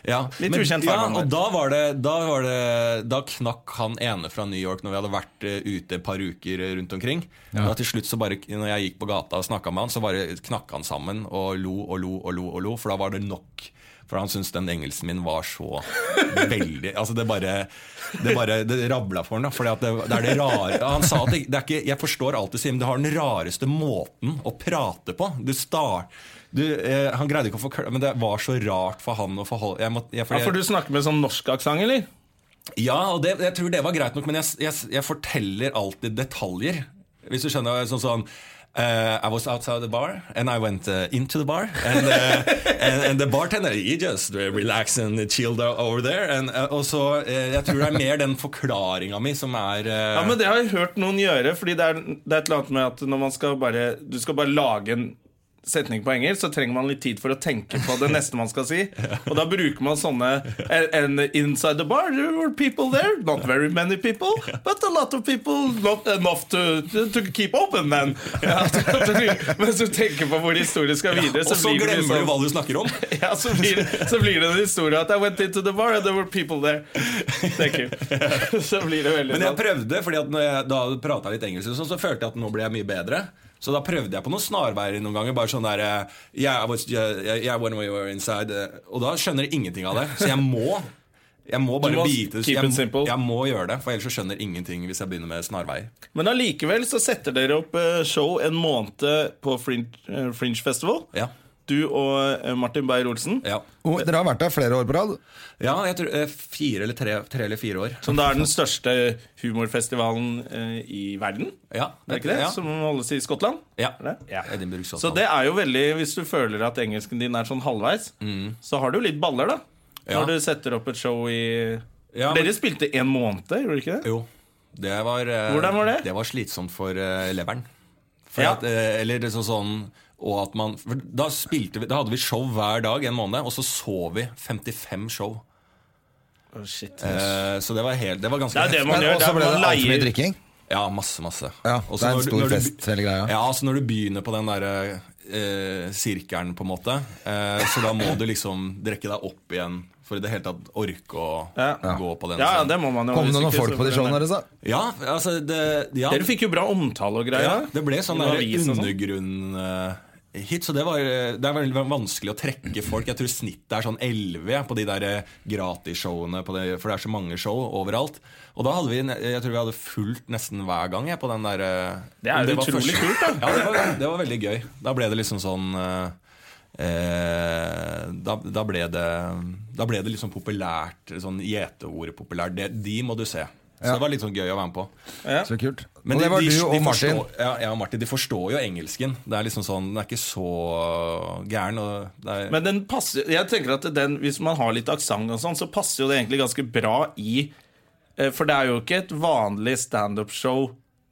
Speaker 3: Ja,
Speaker 1: Litt
Speaker 3: men-
Speaker 1: ukjent
Speaker 3: ja,
Speaker 1: farvann der.
Speaker 3: og da var, det, da var det Da knakk han ene fra New York når vi hadde vært eh, ute et par uker eh, rundt omkring. Og til slutt så bare Når jeg gikk på gata og snakka med han, så bare knakk han sammen og lo og lo og lo, og lo for da var det nok. For han syntes den engelsken min var
Speaker 1: [LAUGHS]
Speaker 3: så veldig Altså Det bare Det, bare, det rabla for han da. Fordi at det, det er det rare Han sa at det, det er ikke Jeg forstår alt du sier, men du har den rareste måten å prate på. Du star... Du, eh, han greide ikke å forklare Men det var så rart for han å forholde jeg måtte, jeg, fordi
Speaker 1: Ja, For
Speaker 3: jeg-
Speaker 1: du snakker med sånn norsk aksent, eller?
Speaker 3: ja, og det, jeg tror det var greit nok, men jeg, jeg, jeg forteller alltid detaljer. Hvis du skjønner, sånn sånn eh, I was outside the bar, and I went eh, into the bar. And, eh, and, and the bartender, he just relaxed and chilled over there. And, eh, og så, eh, Jeg tror det er mer den forklaringa mi som er eh,
Speaker 1: Ja, men Det har jeg hørt noen gjøre. Fordi det er, det er et eller annet med at når man skal bare, du skal bare lage en setning på engelsk, så trenger man litt tid for å tenke på det neste man skal si. Og da bruker man sånne and, and Inside the bar, there were people there. Not very many people, but a lot of people. Not enough to, to keep open, then. Ja, mens du tenker på hvor historien skal videre,
Speaker 3: Og så
Speaker 1: blir det
Speaker 3: glemmer
Speaker 1: litt
Speaker 3: du
Speaker 1: sånn-
Speaker 3: hva du snakker om!
Speaker 1: [LAUGHS] ja, så blir, det- så blir det en historie at I went into the bar and there were people there. Thank you. [LAUGHS] Så blir det veldig
Speaker 3: Men jeg
Speaker 1: sånn.
Speaker 3: prøvde, fordi at når jeg da prata litt engelsk, og sånn, så følte jeg at nå ble jeg mye bedre. Så da prøvde jeg på noen snarveier noen ganger. Bare sånn der eh, yeah, I was, yeah, yeah, when we were inside eh, Og da skjønner jeg ingenting av det. Så jeg må Jeg må bare
Speaker 1: Du må
Speaker 3: bite så
Speaker 1: keep it
Speaker 3: jeg,
Speaker 1: simple.
Speaker 3: jeg må gjøre det, for ellers så skjønner jeg ingenting hvis jeg begynner med snarveier.
Speaker 1: Men allikevel så setter dere opp eh, show en måned på Fringe, eh, Fringe Festival.
Speaker 3: Ja.
Speaker 1: Du og eh, Martin Beyer-Olsen.
Speaker 3: Ja,
Speaker 2: Og Dere har vært der flere år på rad.
Speaker 3: ja jeg tror eh, fire eller tre, tre eller fire år.
Speaker 1: Som da er den største humorfestivalen eh, i verden.
Speaker 3: Ja,
Speaker 1: Er det ikke det?
Speaker 3: Ja.
Speaker 1: Som holdes i Skottland?
Speaker 3: Ja.
Speaker 1: Er det? ja.
Speaker 3: Edinburgh, Skottland.
Speaker 1: Så det er jo veldig Hvis du føler at engelsken din er sånn halvveis, så har du jo litt baller, da.
Speaker 3: Mm. Ja.
Speaker 1: Når du setter opp et show i
Speaker 3: Ja,
Speaker 1: For
Speaker 3: men-
Speaker 1: Dere spilte en måned, gjorde dere ikke det?
Speaker 3: Jo. Det var, eh,
Speaker 1: Hvordan var det?
Speaker 3: Det var slitsomt for eh, leveren. For
Speaker 1: Ja.
Speaker 3: at, eh, eller det er sånn sånn Og at man, for da, spilte vi, da hadde vi show hver dag en måned, og så så vi 55 show.
Speaker 1: Å, Oh, shit.
Speaker 3: Eh, så det var, helt, det var ganske
Speaker 1: Det er det
Speaker 3: heftig.
Speaker 1: man
Speaker 2: Men
Speaker 1: gjør.
Speaker 2: også
Speaker 1: det er
Speaker 2: ble det
Speaker 1: man
Speaker 2: altfor mye
Speaker 1: leier-
Speaker 2: drikking.
Speaker 3: Ja, masse, masse.
Speaker 2: Ja,
Speaker 3: Og
Speaker 2: det
Speaker 3: så
Speaker 2: er en
Speaker 3: når du-
Speaker 2: stor
Speaker 3: når du be-
Speaker 2: fest, hele greia.
Speaker 3: Ja, så når du begynner på den derre eh, sirkelen, på en måte, eh, så da må du liksom drekke deg opp igjen for i det hele tatt orke å
Speaker 1: Ja.
Speaker 3: gå på den.
Speaker 1: Ja, ja,
Speaker 3: scenen.
Speaker 1: det må man jo.
Speaker 2: Kom det
Speaker 1: hvis
Speaker 2: noen
Speaker 1: ikke så
Speaker 2: folk på
Speaker 1: får
Speaker 2: de
Speaker 1: den
Speaker 2: showene
Speaker 1: der.
Speaker 2: deres, da?
Speaker 3: Ja, altså det, ja,
Speaker 1: Dere fikk jo bra omtale og
Speaker 3: ja,
Speaker 1: greier.
Speaker 3: det ble sånn
Speaker 1: I
Speaker 3: der
Speaker 1: avisen og sånn.
Speaker 3: undergrunn-hit, så det, var, eh, det er veldig vanskelig å trekke folk. Jeg tror snittet er sånn 11 jeg, på de der eh, gratisshowene, på det, for det er så mange show overalt. Og da hadde vi, ne- jeg tror vi hadde fulgt nesten hver gang jeg, på den der eh,
Speaker 1: Det er
Speaker 3: om
Speaker 1: jo
Speaker 3: var
Speaker 1: utrolig
Speaker 3: første-
Speaker 1: kult, da.
Speaker 3: [LAUGHS] Ja, det var, det var veldig gøy. Da ble det liksom sånn eh, eh, da, da, ble det, da ble det liksom populært, sånn gjeteordet populært. Det, de må du se. Så det var litt sånn gøy å være med på.
Speaker 2: Så kult.
Speaker 3: Men
Speaker 2: og
Speaker 3: de-
Speaker 2: det var
Speaker 3: de-
Speaker 2: du
Speaker 3: de
Speaker 2: og Martin.
Speaker 3: Forstår, ja, jeg og Martin, de forstår jo engelsken. Det er liksom sånn, Den er ikke så øh, gæren. Og det er,
Speaker 1: Men den passer, jeg tenker at den, hvis man har litt aksent og sånn, så passer jo det egentlig ganske bra i eh, For det er jo ikke et vanlig standup-show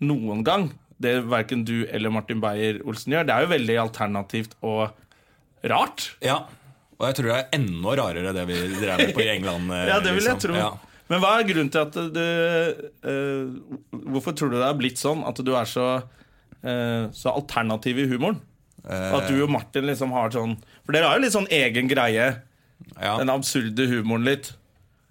Speaker 1: noen gang. Det verken du eller Martin Beyer-Olsen gjør. Det er jo veldig alternativt og rart.
Speaker 3: ja, Og jeg tror det er enda rarere det vi drev med på i
Speaker 1: [LAUGHS]
Speaker 3: England. eh,
Speaker 1: Ja, det vil jeg
Speaker 3: liksom.
Speaker 1: tro.
Speaker 3: Ja.
Speaker 1: Men hva er grunnen til at du eh, Hvorfor tror du det er blitt sånn at du er så, eh, så alternativ i humoren?
Speaker 3: Eh.
Speaker 1: Og at du og Martin liksom har sånn For dere har jo litt sånn egen greie. Den
Speaker 3: Ja,
Speaker 1: absurde humoren litt.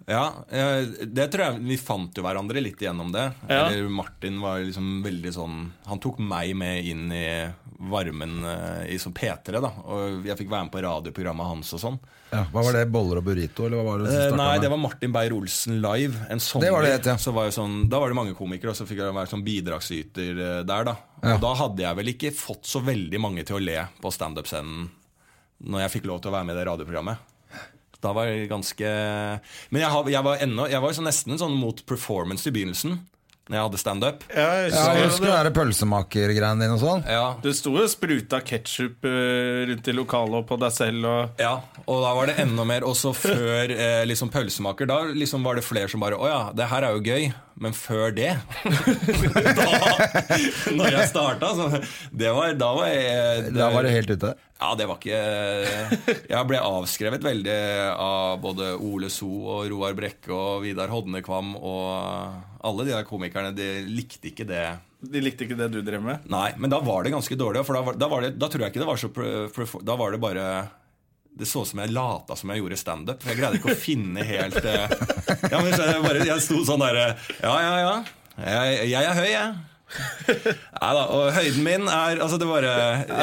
Speaker 3: ja, eh, det tror jeg Vi fant jo hverandre litt gjennom det.
Speaker 1: Ja.
Speaker 3: Eller Martin var liksom veldig sånn Han tok meg med inn i varmen eh, i sånn P3, da. Og jeg fikk være med på radioprogrammet hans og sånn.
Speaker 2: Ja, hva var det? Boller og burrito? Eller hva var det som
Speaker 3: Eh,
Speaker 2: startet
Speaker 3: Nei,
Speaker 2: med?
Speaker 3: det var Martin Beyer-Olsen live en sommer.
Speaker 2: Det var det het, ja.
Speaker 3: så var jo sånn, da var det mange komikere, og så fikk jeg være sånn bidragsyter eh, der. da
Speaker 2: Ja.
Speaker 3: Og da hadde jeg vel ikke fått så veldig mange til å le på standup-scenen når jeg fikk lov til å være med i det radioprogrammet. Da var jeg ganske Men jeg, har, jeg var, ennå, jeg var jo sånn nesten sånn mot performance i begynnelsen, når jeg hadde standup.
Speaker 1: Ja,
Speaker 2: ja, jeg husker det der pølsemakergreiene dine og sånn.
Speaker 3: Ja.
Speaker 1: Det sto jo spruta ketsjup eh, rundt i lokalet og på deg selv. Og
Speaker 3: Ja, og da var det enda mer Også før eh, liksom pølsemaker Da liksom var det flere som bare Åja, det her er jo gøy Men før det [LAUGHS] da, Når jeg startet så, det var, Da var jeg eh,
Speaker 2: Da var det helt ute.
Speaker 3: Ja, det var ikke Jeg ble avskrevet veldig Av både Ole So og Roar Brekke Og Vidar Hodnekvam Og alle de der komikerne De likte ikke det
Speaker 1: de likte ikke det du drev med.
Speaker 3: Nei, men da var det ganske dårlig. For da, var, da, var det, da tror jeg ikke det var så pre- pre- Da var det bare Det så ut som jeg lata som jeg gjorde standup. for Jeg greide ikke å finne helt eh, [LAUGHS] ja, men så jeg, bare, jeg sto sånn derre Ja, ja, ja. Jeg, jeg er høy, jeg. Nei da. Og høyden min er Altså, det bare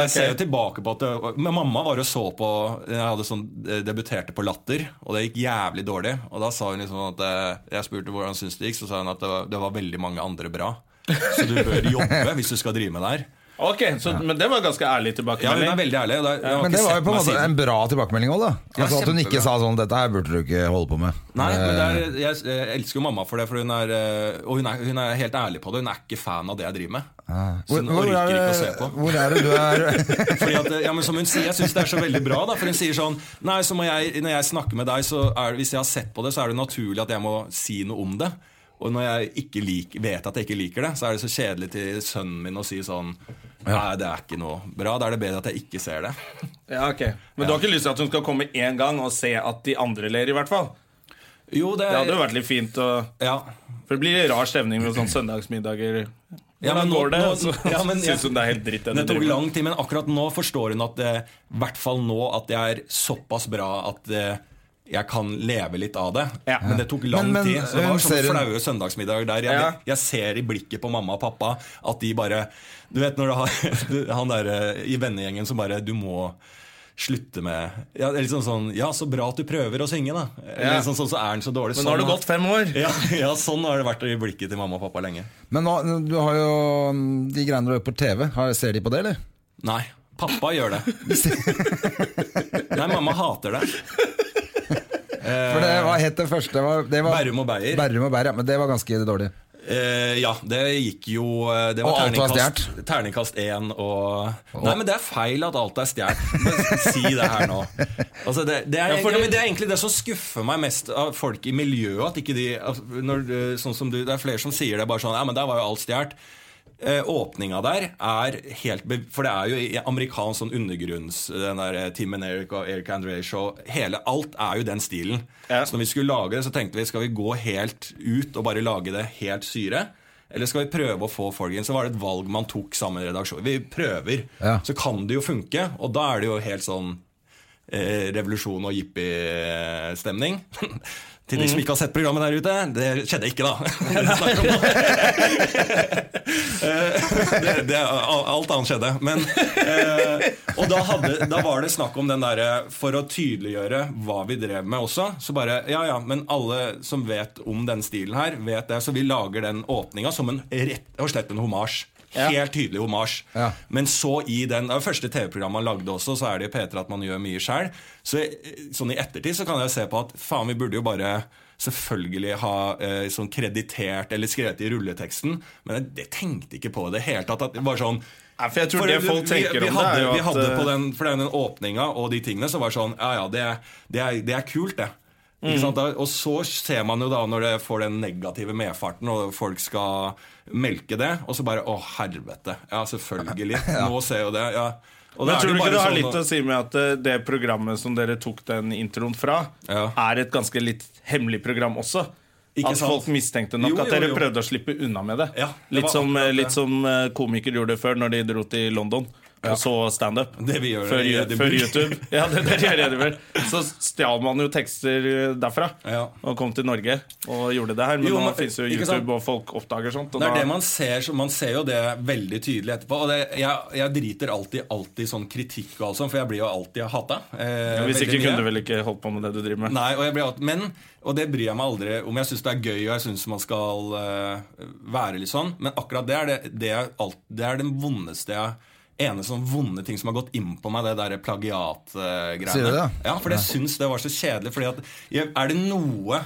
Speaker 3: Jeg ser jo tilbake på at det, Men mamma var og så på Jeg hadde sånn eh, debuterte på Latter, og det gikk jævlig dårlig. Og da sa hun liksom at eh, Jeg spurte hvordan hun syntes det gikk, så sa hun at det var, det var veldig mange andre bra. Så du bør jobbe hvis du skal drive med det her.
Speaker 1: Ok, så, Men det var ganske ærlig
Speaker 3: Ja, hun
Speaker 1: tilbakemelding.
Speaker 3: er veldig ærlig. Og det, jeg har
Speaker 2: Men
Speaker 3: ikke
Speaker 2: det var jo på
Speaker 3: sett
Speaker 2: en
Speaker 3: meg
Speaker 2: måte
Speaker 3: siden.
Speaker 2: en bra tilbakemelding òg, da. Altså At hun ikke
Speaker 3: kjempebra.
Speaker 2: sa sånn 'dette her burde du ikke holde på med'.
Speaker 3: Nei, men det
Speaker 2: Eh,
Speaker 3: er, jeg, jeg elsker jo mamma for det, for hun er, eh, og hun er, hun er helt ærlig på det. Hun er ikke fan av det jeg driver med. Så
Speaker 2: Ah. hvor,
Speaker 3: hun
Speaker 2: hvor,
Speaker 3: orker
Speaker 2: er
Speaker 3: ikke å se
Speaker 2: det,
Speaker 3: på.
Speaker 2: hvor er det du er [LAUGHS]
Speaker 3: [LAUGHS] Fordi at, eh, ja, men som hun sier, Jeg syns det er så veldig bra. Da, for hun sier sånn Nei, så må jeg, Når jeg snakker med deg, så er, hvis jeg har sett på det, så er det naturlig at jeg må si noe om det. Og når jeg ikke lik, vet at jeg ikke liker det, så er det så kjedelig til sønnen min å si sånn Nei, det er ikke noe bra. Da er det bedre at jeg ikke ser det.
Speaker 1: Ja, ok Men du har ikke lyst til at hun skal komme én gang og se at de andre ler, i hvert fall?
Speaker 3: Jo, det,
Speaker 1: Det hadde jo vært litt fint å
Speaker 3: ja,
Speaker 1: For det blir rar stemning med sånne søndagsmiddager. Hvordan
Speaker 3: Ja, men nå-
Speaker 1: går det?
Speaker 3: nå-
Speaker 1: Og så
Speaker 3: ja, men jeg-
Speaker 1: syns hun det er helt dritt. det du
Speaker 3: Det tok
Speaker 1: driver med.
Speaker 3: lang tid, men akkurat nå forstår hun at det, i hvert fall nå at det er såpass bra at eh, jeg kan leve litt av det.
Speaker 1: Ja.
Speaker 3: Men det tok lang
Speaker 2: Men- men,
Speaker 3: tid. Så det
Speaker 2: hun
Speaker 3: var sånne
Speaker 2: ser hun-
Speaker 3: flaue søndagsmiddager der. Jeg,
Speaker 1: Ja.
Speaker 3: jeg ser i blikket på mamma og pappa at de bare Du vet når du har [LAUGHS] du- han derre i vennegjengen som bare Du må slutte med ja, eller liksom sånn, ja, så bra at du prøver å synge, da. Eller
Speaker 1: Ja.
Speaker 3: liksom sånn, så er han så dårlig.
Speaker 1: Men nå har
Speaker 3: Sånn
Speaker 1: det
Speaker 3: har-
Speaker 1: gått fem år.
Speaker 3: [LAUGHS] Ja, ja, sånn har det vært i blikket til mamma og pappa lenge.
Speaker 2: Men nå, du har jo mm, de greiene du gjør på TV. Har, ser de på det, eller?
Speaker 3: Nei, pappa gjør det.
Speaker 2: [LAUGHS]
Speaker 3: Nei, mamma hater det.
Speaker 2: For det var helt det første. Det var, det var,
Speaker 3: Eh, Bærum og Beyer.
Speaker 2: Bærum og Beyer, ja, Men det var ganske dårlig.
Speaker 3: Eh, ja, det gikk jo eh, Det var
Speaker 2: Og alt var
Speaker 3: terningkast, terningkast 1 og Nei, men det er feil at alt er stjålet. Men Si det her nå. Altså, det, det,
Speaker 1: Ja,
Speaker 3: er, ja,
Speaker 1: fordi-
Speaker 3: men det er egentlig det som skuffer meg mest av folk i altså, miljøet. At ikke de at når, eh, sånn som du, Det er flere som sier det bare sånn Ja, men der var jo alt stjålet. eh, åpninga der er helt be For det er jo i amerikansk sånn undergrunns Den der eh, Tim and Eric og Eric Andre Show Hele alt er jo den stilen.
Speaker 1: Ja.
Speaker 3: Så når vi skulle lage det, så tenkte vi skal vi gå helt ut og bare lage det helt syre? Eller skal vi prøve å få folk inn? Så var det et valg man tok sammen med redaksjonen. Vi prøver.
Speaker 2: Ja.
Speaker 3: Så kan det jo funke, og da er det jo helt sånn eh, revolusjon og jippi-stemning. [LAUGHS] Til de som ikke har sett programmet der ute. Det skjedde ikke, da. [LAUGHS] Det snakker om nå. det, det, al- alt annet skjedde. Men, eh, og da, hadde, da var det snakk om den derre For å tydeliggjøre hva vi drev med også, så bare Ja ja, men alle som vet om den stilen her, vet det. Så vi lager den åpninga som en rett og slett en homasj. Helt tydelig homasj.
Speaker 2: Ja.
Speaker 3: Men så i den det er det første TV-programmet han lagde også, så er det i P3 at man gjør mye sjøl. Så eh, sånn i ettertid så kan jeg se på at faen, vi burde jo bare selvfølgelig ha eh, sånn kreditert eller skrevet i rulleteksten, men jeg, jeg tenkte ikke på det i det hele tatt. At det var sånn
Speaker 1: Nei, for jeg tror det folk tenker
Speaker 3: vi, vi
Speaker 1: om det,
Speaker 3: hadde,
Speaker 1: er jo
Speaker 3: vi
Speaker 1: at,
Speaker 3: hadde på
Speaker 1: eh,
Speaker 3: den, For den åpninga og de tingene, så var det sånn Ja ja, det, er- det, er, det er kult, det. Ikke
Speaker 1: Mm.
Speaker 3: sant? Da- Og så ser man jo da, når det får den negative medfarten, og folk skal melke det, og så bare Å, helvete. Ja,
Speaker 1: [LAUGHS]
Speaker 3: selvfølgelig. Nå ser jo det. Ja. Og da
Speaker 1: Men
Speaker 3: er
Speaker 1: tror du
Speaker 3: det jo
Speaker 1: ikke
Speaker 3: bare
Speaker 1: det har
Speaker 3: sånn
Speaker 1: litt å si med at eh, det programmet som dere tok den introen fra,
Speaker 3: Ja.
Speaker 1: er et ganske litt hemmelig program også?
Speaker 3: Ikke
Speaker 1: at
Speaker 3: sant?
Speaker 1: folk mistenkte nok
Speaker 3: Jo,
Speaker 1: at
Speaker 3: jo,
Speaker 1: dere
Speaker 3: jo.
Speaker 1: prøvde å slippe unna med det.
Speaker 3: Ja, det var
Speaker 1: litt, som,
Speaker 3: akkurat
Speaker 1: eh,
Speaker 3: det.
Speaker 1: litt som eh, komikere gjorde før når de dro til London og så standup.
Speaker 3: Det vi gjør
Speaker 1: Før,
Speaker 3: i
Speaker 1: ju-
Speaker 3: Edinburgh.
Speaker 1: før YouTube.
Speaker 3: [LAUGHS]
Speaker 1: Ja, det dere gjør i Edinburgh. Så stjal man jo tekster eh, derfra
Speaker 3: Ja.
Speaker 1: og kom til Norge og gjorde det her. Men
Speaker 3: Jo,
Speaker 1: nå
Speaker 3: men-
Speaker 1: fins jo
Speaker 3: ikke
Speaker 1: YouTube,
Speaker 3: sant?
Speaker 1: og folk oppdager sånt. Og
Speaker 3: Det er
Speaker 1: da-
Speaker 3: det man ser, så man ser jo det veldig tydelig etterpå. Og det, jeg, jeg driter alltid, alltid sånn kritikk og alt sånt, for jeg blir jo alltid hata. Eh,
Speaker 1: hvis
Speaker 3: veldig
Speaker 1: ikke
Speaker 3: mye.
Speaker 1: kunne du vel ikke holdt på med det du driver med.
Speaker 3: Nei, og jeg blir alt, men Og det bryr jeg meg aldri om. Jeg syns det er gøy, og jeg syns man skal eh, være litt sånn. Men akkurat det er det, det, er alt, det er den vondeste jeg ene sånn vonde ting som har gått inn på meg, det der plagiat-greiene.
Speaker 2: Sier du det?
Speaker 3: Ja, for jeg syns det var så kjedelig. Fordi at jeg, Er det noe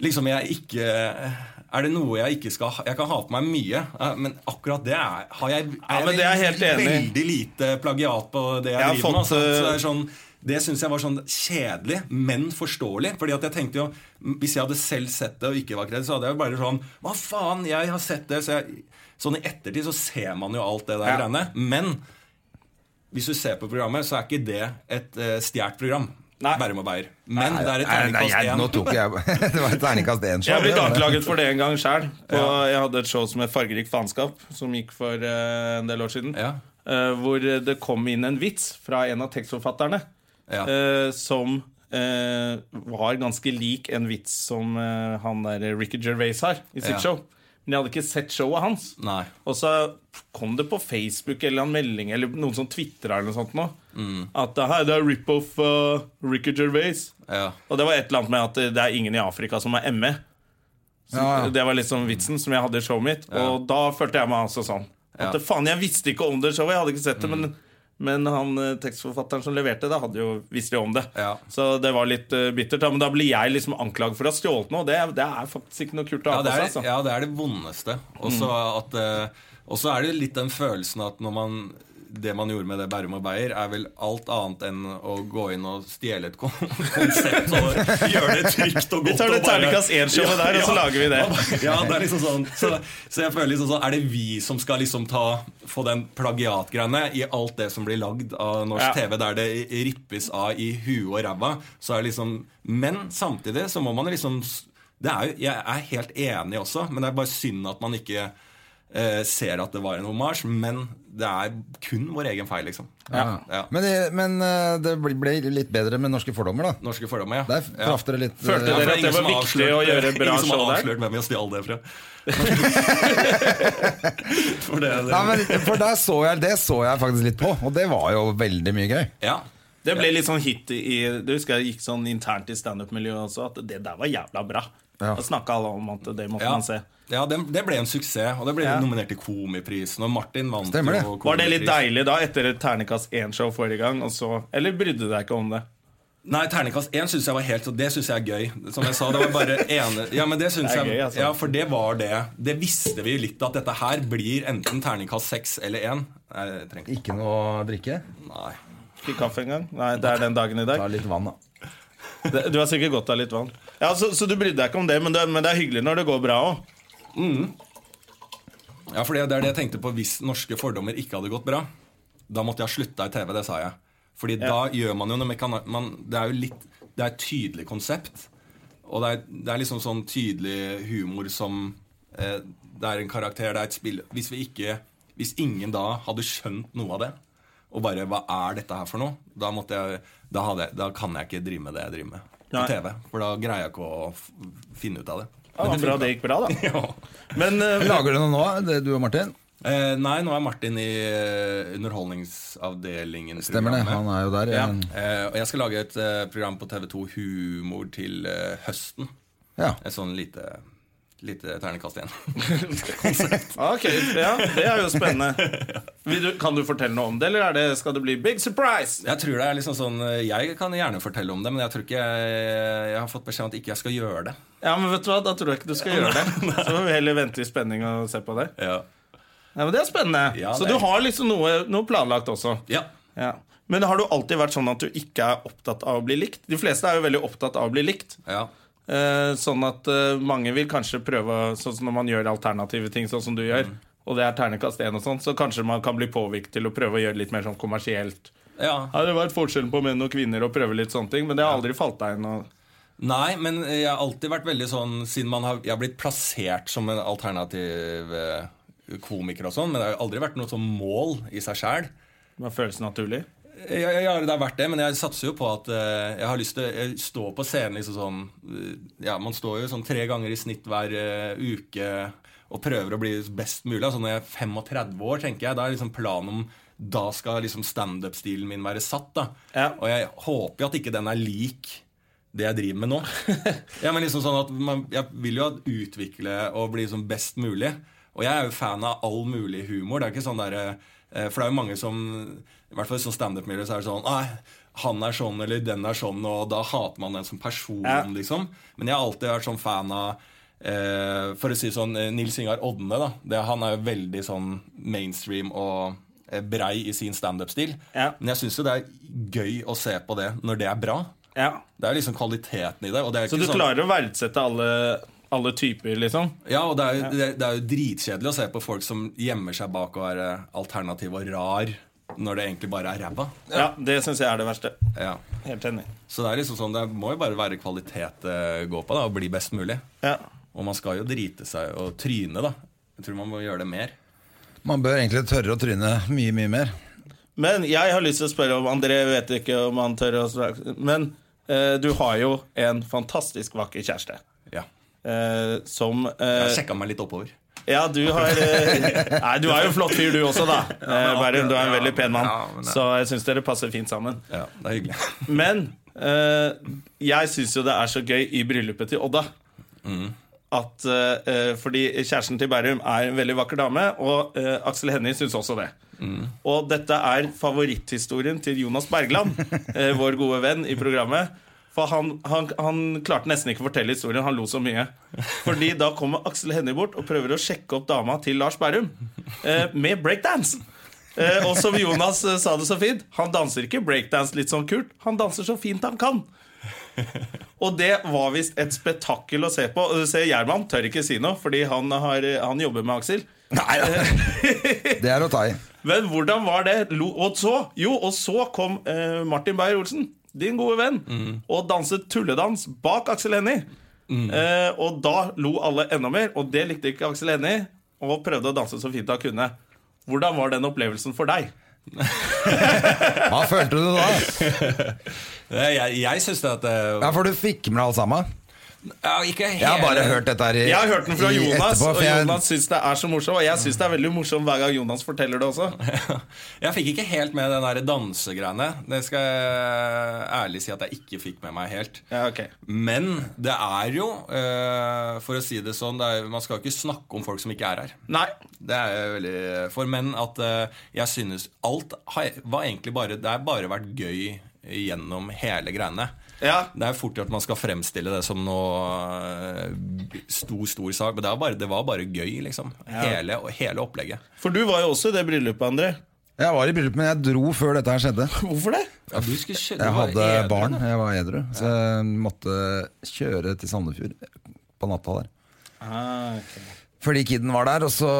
Speaker 3: Liksom jeg ikke Er det noe jeg ikke skal ha- Jeg kan ha på meg mye, eh, men akkurat det er, har jeg, er
Speaker 1: Ja, men det er jeg helt enig i.
Speaker 3: veldig lite plagiat på det jeg,
Speaker 1: Jeg har
Speaker 3: driver med.
Speaker 1: fått,
Speaker 3: Altså. Så det
Speaker 1: eh,
Speaker 3: er sånn, det syns jeg var sånn kjedelig, men forståelig. Fordi at jeg tenkte jo, m, Hvis jeg hadde selv sett det og ikke var kredd, så hadde jeg jo bare sånn Hva faen, jeg har sett det. Så jeg, sånn i ettertid så ser man jo alt det der
Speaker 1: Ja.
Speaker 3: greiene. Men hvis du ser på programmet, så er ikke det et uh, stjålet program.
Speaker 1: Nei.
Speaker 3: Bærum og Beyer. Men det er et
Speaker 2: Nei, nei, jeg, nå
Speaker 3: terningkast én.
Speaker 2: tok jeg [LAUGHS] Det var et terningkast én.
Speaker 1: Jeg har blitt anklaget for det en gang sjøl. Jeg hadde et show som het Fargerik faenskap, som gikk for eh, en del år siden.
Speaker 3: Ja.
Speaker 1: eh, hvor det kom inn en vits fra en av tekstforfatterne
Speaker 3: Ja.
Speaker 1: eh, som eh, var ganske lik en vits som eh, han der Ricky Gervais har i sitt
Speaker 3: Ja.
Speaker 1: show. Men jeg hadde ikke sett showet hans.
Speaker 3: Nei.
Speaker 1: Og så kom det på Facebook eller en melding eller noen som tvitra eller noe sånt nå,
Speaker 3: Mm.
Speaker 1: at «Hei, det er rip-off uh, Ricky Gervais.
Speaker 3: Ja.
Speaker 1: Og det var et eller annet med at det er ingen i Afrika som er ME. Så
Speaker 2: Ja, ja.
Speaker 1: Det var liksom vitsen som jeg hadde i showet mitt. Og da følte jeg meg altså sånn. At
Speaker 3: Ja. Mm.
Speaker 1: faen, jeg visste ikke om det showet, jeg hadde ikke sett det. Men, men han eh, tekstforfatteren som leverte det, hadde jo visst jo om det.
Speaker 3: Ja.
Speaker 1: Så det var litt eh, bittert. Da. Men da blir jeg liksom anklaget for å ha stjålet noe. og Det, det er faktisk ikke noe kult å
Speaker 3: Ja
Speaker 1: ha på
Speaker 3: det, er,
Speaker 1: seg. Altså. Mm.
Speaker 3: ja, det er det vondeste. Og så at, eh, og så er det litt den følelsen at når man det man gjorde med det Bærum og Beyer, er vel alt annet enn å gå inn og stjele et kon- [LAUGHS] konsept og gjøre det trygt og godt.
Speaker 1: Vi tar det
Speaker 3: og bare-
Speaker 1: terningkast én-showet der, og så lager vi det.
Speaker 3: [LAUGHS] Ja, det er liksom sånn Så, så jeg føler liksom sånn Er det vi som skal liksom ta få den plagiatgreiene i alt det som blir lagd av norsk
Speaker 1: Ja.
Speaker 3: TV, der det rippes av i huet og ræva, så er det liksom Men samtidig så må man liksom det er jo, Jeg er helt enig også, men det er bare synd at man ikke eh, ser at det var en homasj. Men det er kun vår egen feil, liksom. Ja.
Speaker 2: Men, det, men eh, det ble- ble litt bedre med norske fordommer, da.
Speaker 3: Norske fordommer, ja.
Speaker 2: Der
Speaker 3: Ja.
Speaker 2: traff dere litt
Speaker 1: Følte
Speaker 2: eh,
Speaker 1: dere-
Speaker 3: for
Speaker 1: at det
Speaker 3: ingen
Speaker 1: var
Speaker 3: som har
Speaker 1: viktig å gjøre bra
Speaker 3: Ingen som har
Speaker 1: show der?
Speaker 3: avslørt hvem vi har stjålet det fra. For det, det.
Speaker 2: Nei, men For der så jeg, det så jeg faktisk litt på, og det var jo veldig mye gøy.
Speaker 3: Ja.
Speaker 1: Det ble litt sånn hit i Det husker jeg gikk sånn internt i standup-miljøet også, at det der var jævla bra.
Speaker 2: Ja.
Speaker 1: Da snakka alle om at det måtte
Speaker 3: Ja,
Speaker 1: man se.
Speaker 3: ja det, det ble en suksess, og det ble
Speaker 1: Ja.
Speaker 3: nominert til Komiprisen. Og Martin vant
Speaker 2: Stemmer det.
Speaker 3: jo
Speaker 1: Var det litt
Speaker 3: Komipris.
Speaker 1: deilig da, etter et ternekast 1-show forrige gang? Og så, eller brydde du deg ikke om det?
Speaker 3: Nei, terningkast 1 syns jeg var helt så Det syns jeg er gøy. Som jeg sa, det var bare
Speaker 1: [LAUGHS]
Speaker 3: ene Ja, men det syns
Speaker 1: Det er
Speaker 3: jeg
Speaker 1: gøy, altså.
Speaker 3: Ja, for det var det. Det visste vi litt at dette her blir enten terningkast 6 eller 1. Nei, jeg trenger
Speaker 2: Ikke noe å drikke.
Speaker 3: ikke Nei.
Speaker 1: Ikke kaffe engang? Nei, det er den dagen i dag.
Speaker 2: Ta litt vann, da.
Speaker 1: Det- Du har sikkert godt av litt vann. Ja, Så, så du brydde deg ikke om det, men det, men det er hyggelig når det går bra òg.
Speaker 3: Ja, for det det er det jeg tenkte på Hvis norske fordommer ikke hadde gått bra, da måtte jeg ha slutta i TV, det sa jeg. Fordi da gjør man jo noe mekana- man, Det er jo litt Det er et tydelig konsept. Og det er, det er liksom sånn tydelig humor som eh, Det er en karakter, det er et spill Hvis vi ikke Hvis ingen da hadde skjønt noe av det, og bare Hva er dette her for noe? Da, måtte jeg, da, hadde, jeg- da kan jeg ikke drive med det jeg driver med på
Speaker 1: Nei.
Speaker 3: TV. For da greier jeg ikke å f finne ut av det.
Speaker 1: Ja,
Speaker 3: [LAUGHS]
Speaker 1: det var bra det gikk bra, da. Men [LAUGHS] eh,
Speaker 2: Lager du noe nå, det du og Martin?
Speaker 3: Eh, nei, nå er Martin i eh, Underholdningsavdelingen.
Speaker 2: Stemmer det, han
Speaker 3: programmet.
Speaker 2: er jo der.
Speaker 3: ja.
Speaker 2: eh,
Speaker 3: eh, og jeg skal lage et eh, program på TV2 Humor til eh, høsten.
Speaker 2: Ja.
Speaker 3: Et sånn lite, lite ternekast igjen. [LAUGHS]
Speaker 1: Ok, ja, det er jo spennende. Vil du, kan du fortelle noe om det, eller er det, skal det bli big surprise?
Speaker 3: Jeg tror det er liksom sånn eh, Jeg kan gjerne fortelle om det, men jeg tror ikke jeg, jeg har fått beskjed om at ikke jeg skal gjøre det.
Speaker 1: Ja, men vet du hva, Da tror jeg ikke du skal gjøre det. [LAUGHS] Så får vi heller vente i spenning og se på det.
Speaker 3: Ja.
Speaker 1: Ja, men Det er spennende.
Speaker 3: Ja,
Speaker 1: Så
Speaker 3: det er-
Speaker 1: du har liksom noe, noe planlagt også.
Speaker 3: ja.
Speaker 1: Ja. Men har du alltid vært sånn at du ikke er opptatt av å bli likt? De fleste er jo veldig opptatt av å bli likt.
Speaker 3: ja.
Speaker 1: Eh, sånn at eh, mange vil kanskje prøve Sånn som når man gjør alternative ting, sånn som du gjør, og det er ternekast 1 og sånn, så kanskje man kan bli påvirket til å prøve å gjøre litt mer sånn kommersielt.
Speaker 3: ja.
Speaker 1: Ja, det har vært forskjellen på menn og kvinner og prøve litt sånne ting, men det har aldri falt deg inn. Og...
Speaker 3: Nei, men jeg har alltid vært veldig sånn Siden man har, jeg har blitt plassert som en alternativ eh, komiker og sånn, men det har aldri vært noe sånn mål i seg sjæl.
Speaker 1: Hva føles naturlig?
Speaker 3: Ja, ja, ja, det er verdt det, men jeg satser jo på at eh, jeg har lyst til å stå på scenen liksom sånn eh, Ja, man står jo sånn tre ganger i snitt hver eh, uke og prøver å bli best mulig. Altså når jeg er 35 år, tenker jeg, da er liksom planen om da skal liksom standup-stilen min være satt. da
Speaker 1: Ja.
Speaker 3: Og jeg håper jo at ikke den er lik det jeg driver
Speaker 1: [LAUGHS]
Speaker 3: med nå. ja, men liksom sånn at man, Jeg vil jo at utvikle og bli liksom best mulig. Og jeg er jo fan av all mulig humor. Det er ikke sånn der, eh, For det er jo mange som I hvert fall i sånn standup-miljø så er det sånn Nei, han er sånn, eller den er sånn, og da hater man den som person,
Speaker 1: Ja.
Speaker 3: liksom. Men jeg har alltid vært sånn fan av eh, For å si sånn eh, Nils Ingar Odne, da. Det, han er jo veldig sånn mainstream og eh, brei i sin standup-stil.
Speaker 1: Ja.
Speaker 3: Men jeg syns jo det er gøy å se på det når det er bra.
Speaker 1: Ja.
Speaker 3: Det er liksom kvaliteten i det. Og det er
Speaker 1: Så
Speaker 3: ikke
Speaker 1: du
Speaker 3: sånn,
Speaker 1: klarer å verdsette alle, alle typer, liksom?
Speaker 3: Ja, og det er, jo- det, det er jo dritkjedelig å se på folk som gjemmer seg bak å være alternativ og rar, når det egentlig bare er ræva.
Speaker 1: Ja, det syns jeg er det verste.
Speaker 3: Ja.
Speaker 1: Helt enig.
Speaker 3: Så det er liksom sånn, det må jo bare være kvalitet det går på, da, og bli best mulig.
Speaker 1: Ja.
Speaker 3: Og man skal jo drite seg og tryne, da. Jeg tror man må gjøre det mer.
Speaker 2: Man bør egentlig tørre å tryne mye, mye mer.
Speaker 1: Men jeg har lyst til å spørre om André vet ikke om han tør å snakke Men eh, du har jo en fantastisk vakker kjæreste.
Speaker 3: Ja.
Speaker 1: eh, som
Speaker 3: Jeg
Speaker 1: eh,
Speaker 3: sjekka meg litt oppover.
Speaker 1: Ja, du har eh, Nei, du er jo en flott fyr, du også, da. Eh, Bærum, du er en veldig pen
Speaker 3: Ja,
Speaker 1: mann.
Speaker 3: men det-
Speaker 1: Så jeg syns dere passer fint sammen.
Speaker 3: Ja, Det er hyggelig. [LAUGHS]
Speaker 1: Men eh, jeg syns jo det er så gøy i bryllupet til Odda. At, eh, eh, fordi kjæresten til Bærum er en veldig vakker dame, og eh, Aksel Hennie syns også det. Og dette er favoritthistorien til Jonas Bergland, eh, vår gode venn i programmet. For han, han, han klarte nesten ikke å fortelle historien, han lo så mye. Fordi da kommer Aksel Hennie bort og prøver å sjekke opp dama til Lars Berrum eh, med breakdance. Eh, og som Jonas eh, sa det så fint, han danser ikke breakdance litt sånn kult. Han danser så fint han kan. Og det var visst et spetakkel å se på. Og du ser Gjerman tør ikke si noe, fordi han, har, eh, han jobber med Aksel.
Speaker 2: Nei, [LAUGHS] det er å ta i.
Speaker 1: Men hvordan var det? Lo, og så jo, og så kom eh, Martin Beyer-Olsen, din gode venn, og danset tulledans bak Aksel Hennie. Eh, og da lo alle enda mer, og det likte ikke Aksel Hennie. Og prøvde å danse så fint han kunne. Hvordan var den opplevelsen for deg?
Speaker 2: Hva følte du da?
Speaker 3: Eh, Jeg, jeg syns det at eh,
Speaker 2: Ja, For du fikk med deg alt sammen?
Speaker 3: ja, Ikke hele
Speaker 2: Jeg har bare hørt dette her i,
Speaker 1: Jeg har hørt den fra
Speaker 2: i
Speaker 1: Jonas,
Speaker 2: etterpå,
Speaker 1: og
Speaker 2: for jeg-
Speaker 1: Jonas syns det er så morsom. Og jeg syns det er veldig morsom hver gang Jonas forteller det også.
Speaker 3: [LAUGHS] Jeg fikk ikke helt med den der dansegreiene. Det skal jeg ærlig si at jeg ikke fikk med meg helt.
Speaker 1: Ja, ok
Speaker 3: Men det er jo, eh, for å si det sånn, det er, man skal jo ikke snakke om folk som ikke er her.
Speaker 1: Nei.
Speaker 3: Det er jo veldig for menn at eh, jeg synes alt har, var egentlig bare Det har bare vært gøy gjennom hele greiene.
Speaker 1: Ja.
Speaker 3: Det er fort at man skal fremstille det som noe eh, stor, stor sak, men det, er bare, det var bare gøy, liksom. Hele, hele opplegget.
Speaker 1: For du var jo også i det bryllupet, André.
Speaker 2: Jeg var i bryllup, men jeg dro før dette her skjedde.
Speaker 1: Hvorfor det?
Speaker 3: Ja, du skulle kjø- du
Speaker 2: Jeg
Speaker 3: var
Speaker 2: hadde
Speaker 3: edru,
Speaker 2: barn,
Speaker 3: da.
Speaker 2: jeg var edru, så
Speaker 3: Ah,
Speaker 2: jeg måtte kjøre til Sandefjord på natta der. Fordi kiden var der, og så,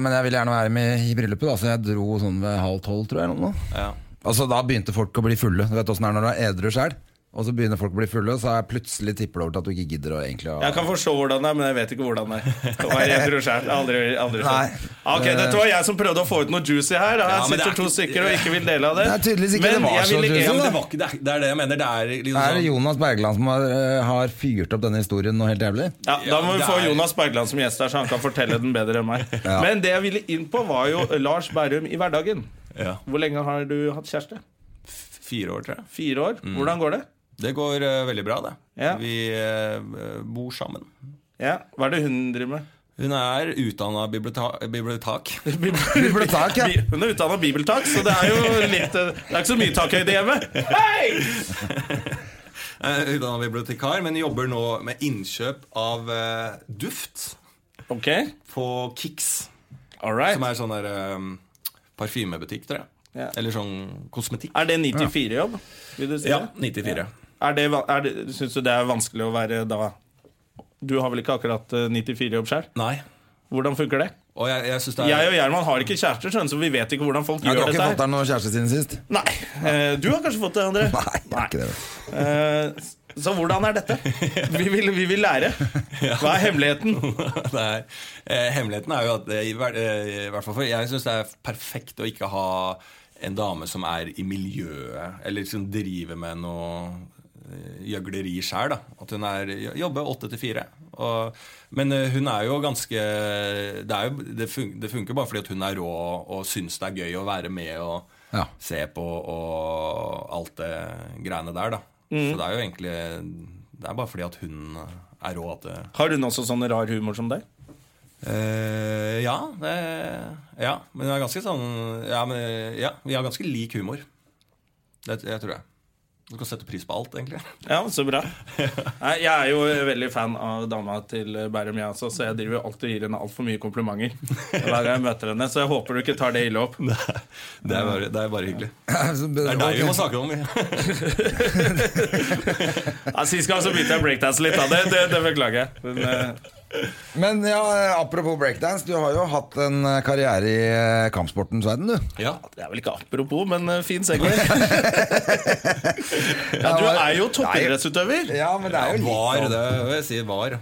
Speaker 2: men jeg ville gjerne være med i bryllupet, da, så jeg dro sånn ved halv tolv, tror jeg. Eller noe.
Speaker 3: Ja.
Speaker 2: Altså, da begynte folk å bli fulle. Du vet åssen det er når du er edru sjøl. Og så begynner folk å bli fulle, og så er plutselig tipper det over til at du ikke gidder å egentlig å
Speaker 1: Jeg kan forstå hvordan det er, men jeg vet ikke hvordan
Speaker 3: [LAUGHS]
Speaker 1: det er. Å være edru selv. Jeg har Aldri, aldri skjønt.
Speaker 2: Nei.
Speaker 1: Ok, Dette var jeg som prøvde å få ut noe juicy her. Her
Speaker 3: Ja, men det
Speaker 1: sitter
Speaker 3: er
Speaker 1: to
Speaker 3: ikke-
Speaker 1: stykker og ikke vil dele av det.
Speaker 2: Det er tydeligvis ikke det var
Speaker 1: jeg
Speaker 2: så
Speaker 1: vil
Speaker 2: juicy,
Speaker 3: Ja, men
Speaker 2: da.
Speaker 1: egentlig-
Speaker 3: det, var ikke, det, er, det er det jeg mener. Det er liksom
Speaker 2: Er det
Speaker 3: sånn
Speaker 2: Jonas Bergland som har, eh, har fyrt opp denne historien noe helt jævlig?
Speaker 1: Ja, Da må
Speaker 3: Ja,
Speaker 1: vi
Speaker 3: det
Speaker 1: få
Speaker 3: er-
Speaker 1: Jonas Bergland som gjest her, så han kan fortelle den bedre enn meg. Men det jeg ville inn på, var jo Lars Berrum i hverdagen.
Speaker 3: ja,
Speaker 1: Hvor lenge har du hatt kjæreste?
Speaker 3: Fire år, tror jeg.
Speaker 1: Fire
Speaker 2: Mm.
Speaker 1: år. Hvordan går det?
Speaker 3: Det går eh, veldig bra, det.
Speaker 1: Ja.
Speaker 3: Vi eh, bor sammen.
Speaker 1: Ja, Hva er det hun driver
Speaker 2: [LAUGHS]
Speaker 1: med?
Speaker 3: Hun er utdanna bibliotek. bibliotek.
Speaker 2: Bibliotek, ja.
Speaker 1: Bi- Hun er utdanna bibeltak, så det er jo litt eh, Det er ikke så mye takhøyde hjemme. Hei!
Speaker 3: Eh, Utdanna bibliotekar, men jobber nå med innkjøp av eh, duft
Speaker 1: Ok,
Speaker 3: på Kix.
Speaker 1: all right.
Speaker 3: Som er sånn der eh, parfymebutikk, tror jeg.
Speaker 1: Ja.
Speaker 3: Eller sånn kosmetikk.
Speaker 1: Er det 9-4-jobb? Vil du si
Speaker 3: Ja,
Speaker 1: det?
Speaker 3: 94.
Speaker 1: Er det, va- er det, syns du det er vanskelig å være da Du har vel ikke akkurat eh, 94-jobb sjøl?
Speaker 3: Nei.
Speaker 1: Hvordan funker det?
Speaker 3: Og jeg, jeg synes det er
Speaker 1: Jeg og
Speaker 3: [LAUGHS]
Speaker 1: Gjerman har ikke kjærester, skjønner, du, så vi vet ikke hvordan folk
Speaker 2: Ja, du
Speaker 1: gjør
Speaker 2: har ikke
Speaker 1: dette.
Speaker 2: fått
Speaker 1: her
Speaker 2: deg noen kjæreste siden sist?
Speaker 1: Nei, Eh, Du har kanskje fått det, André?
Speaker 2: Nei, det er ikke det. [LAUGHS]
Speaker 1: Eh, Så hvordan er dette? Vi vil, vi vil lære. Hva er hemmeligheten?
Speaker 3: [LAUGHS] det er, eh, hemmeligheten er jo at eh, i, hver- eh, i hvert fall for Jeg syns det er perfekt å ikke ha en dame som er i miljøet, eller som driver med noe eh, gjøgleri sjæl. At hun er, jo- jobber åtte til fire. Og- Men eh, hun er jo ganske Det, er jo, det, fun, det funker bare fordi at hun er rå og syns det er gøy å være med og
Speaker 2: Ja.
Speaker 3: se på og alt det greiene der, da. Så det er jo egentlig Det er bare fordi at hun er rå at det
Speaker 1: Har hun også sånn rar humor som deg?
Speaker 3: Eh, ja, det, ja, men det er ganske sånn ja, men, ja, vi har ganske lik humor. Det, det tror jeg. Du kan sette pris på alt, egentlig.
Speaker 1: Ja, så bra. Nei, Jeg er jo veldig fan av dama til Bærum, jeg også, så jeg driver jo alltid og gir henne altfor mye komplimenter hver gang jeg møter henne. Så jeg håper du ikke tar det ille opp.
Speaker 3: Det er bare, det er bare hyggelig. Det er altså. deg vi må
Speaker 2: Ok.
Speaker 3: snakke om. vi.
Speaker 1: Ja, Sist gang så begynte jeg å breakdance litt av det. Det, det beklager jeg. Men, eh,
Speaker 2: Men ja, eh, apropos breakdance, du har jo hatt en eh, karriere i eh, kampsportens verden, du.
Speaker 3: [LAUGHS] Ja.
Speaker 1: det er vel ikke apropos, men eh, fin segway. Ja, du er jo toppidrettsutøver
Speaker 2: Ja, men det er jo sånn.
Speaker 3: Var, det vil jeg si. Var.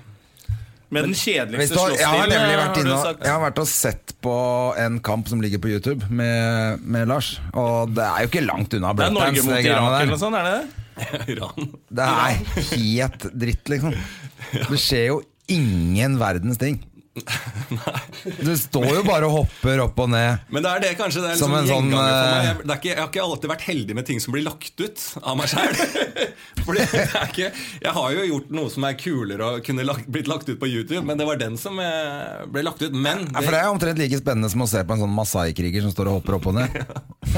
Speaker 1: med den
Speaker 2: Hvis
Speaker 1: kjedeligste
Speaker 2: du, har- jeg har
Speaker 1: slåssstilen.
Speaker 2: nemlig vært
Speaker 1: har du
Speaker 2: inne og,
Speaker 1: sagt.
Speaker 2: jeg har vært og sett på en kamp som ligger på YouTube med, med Lars. Og det er jo ikke langt unna
Speaker 1: Det er Norge
Speaker 2: breakdance.
Speaker 1: mot
Speaker 2: greiene
Speaker 1: Irak
Speaker 2: der.
Speaker 1: eller noe sånt, er det det?
Speaker 3: [LAUGHS] Iran.
Speaker 2: Det er helt dritt, liksom. Det skjer jo ingen verdens ting. Du står jo bare og hopper opp og ned.
Speaker 3: Men det er det kanskje det er
Speaker 2: Som
Speaker 3: liksom
Speaker 2: en sånn,
Speaker 3: gjenganger for meg.
Speaker 2: eh,
Speaker 3: Jeg, det er ikke, jeg har ikke alltid vært heldig med ting som blir lagt ut av meg [LAUGHS] sjøl. Jeg har jo gjort noe som er kulere og kunne lagt, blitt lagt ut på YouTube, men det var den som eh, ble lagt ut. Men
Speaker 2: Ja, for Det er omtrent like spennende som å se på en sånn Masai-kriger som står og hopper opp og ned.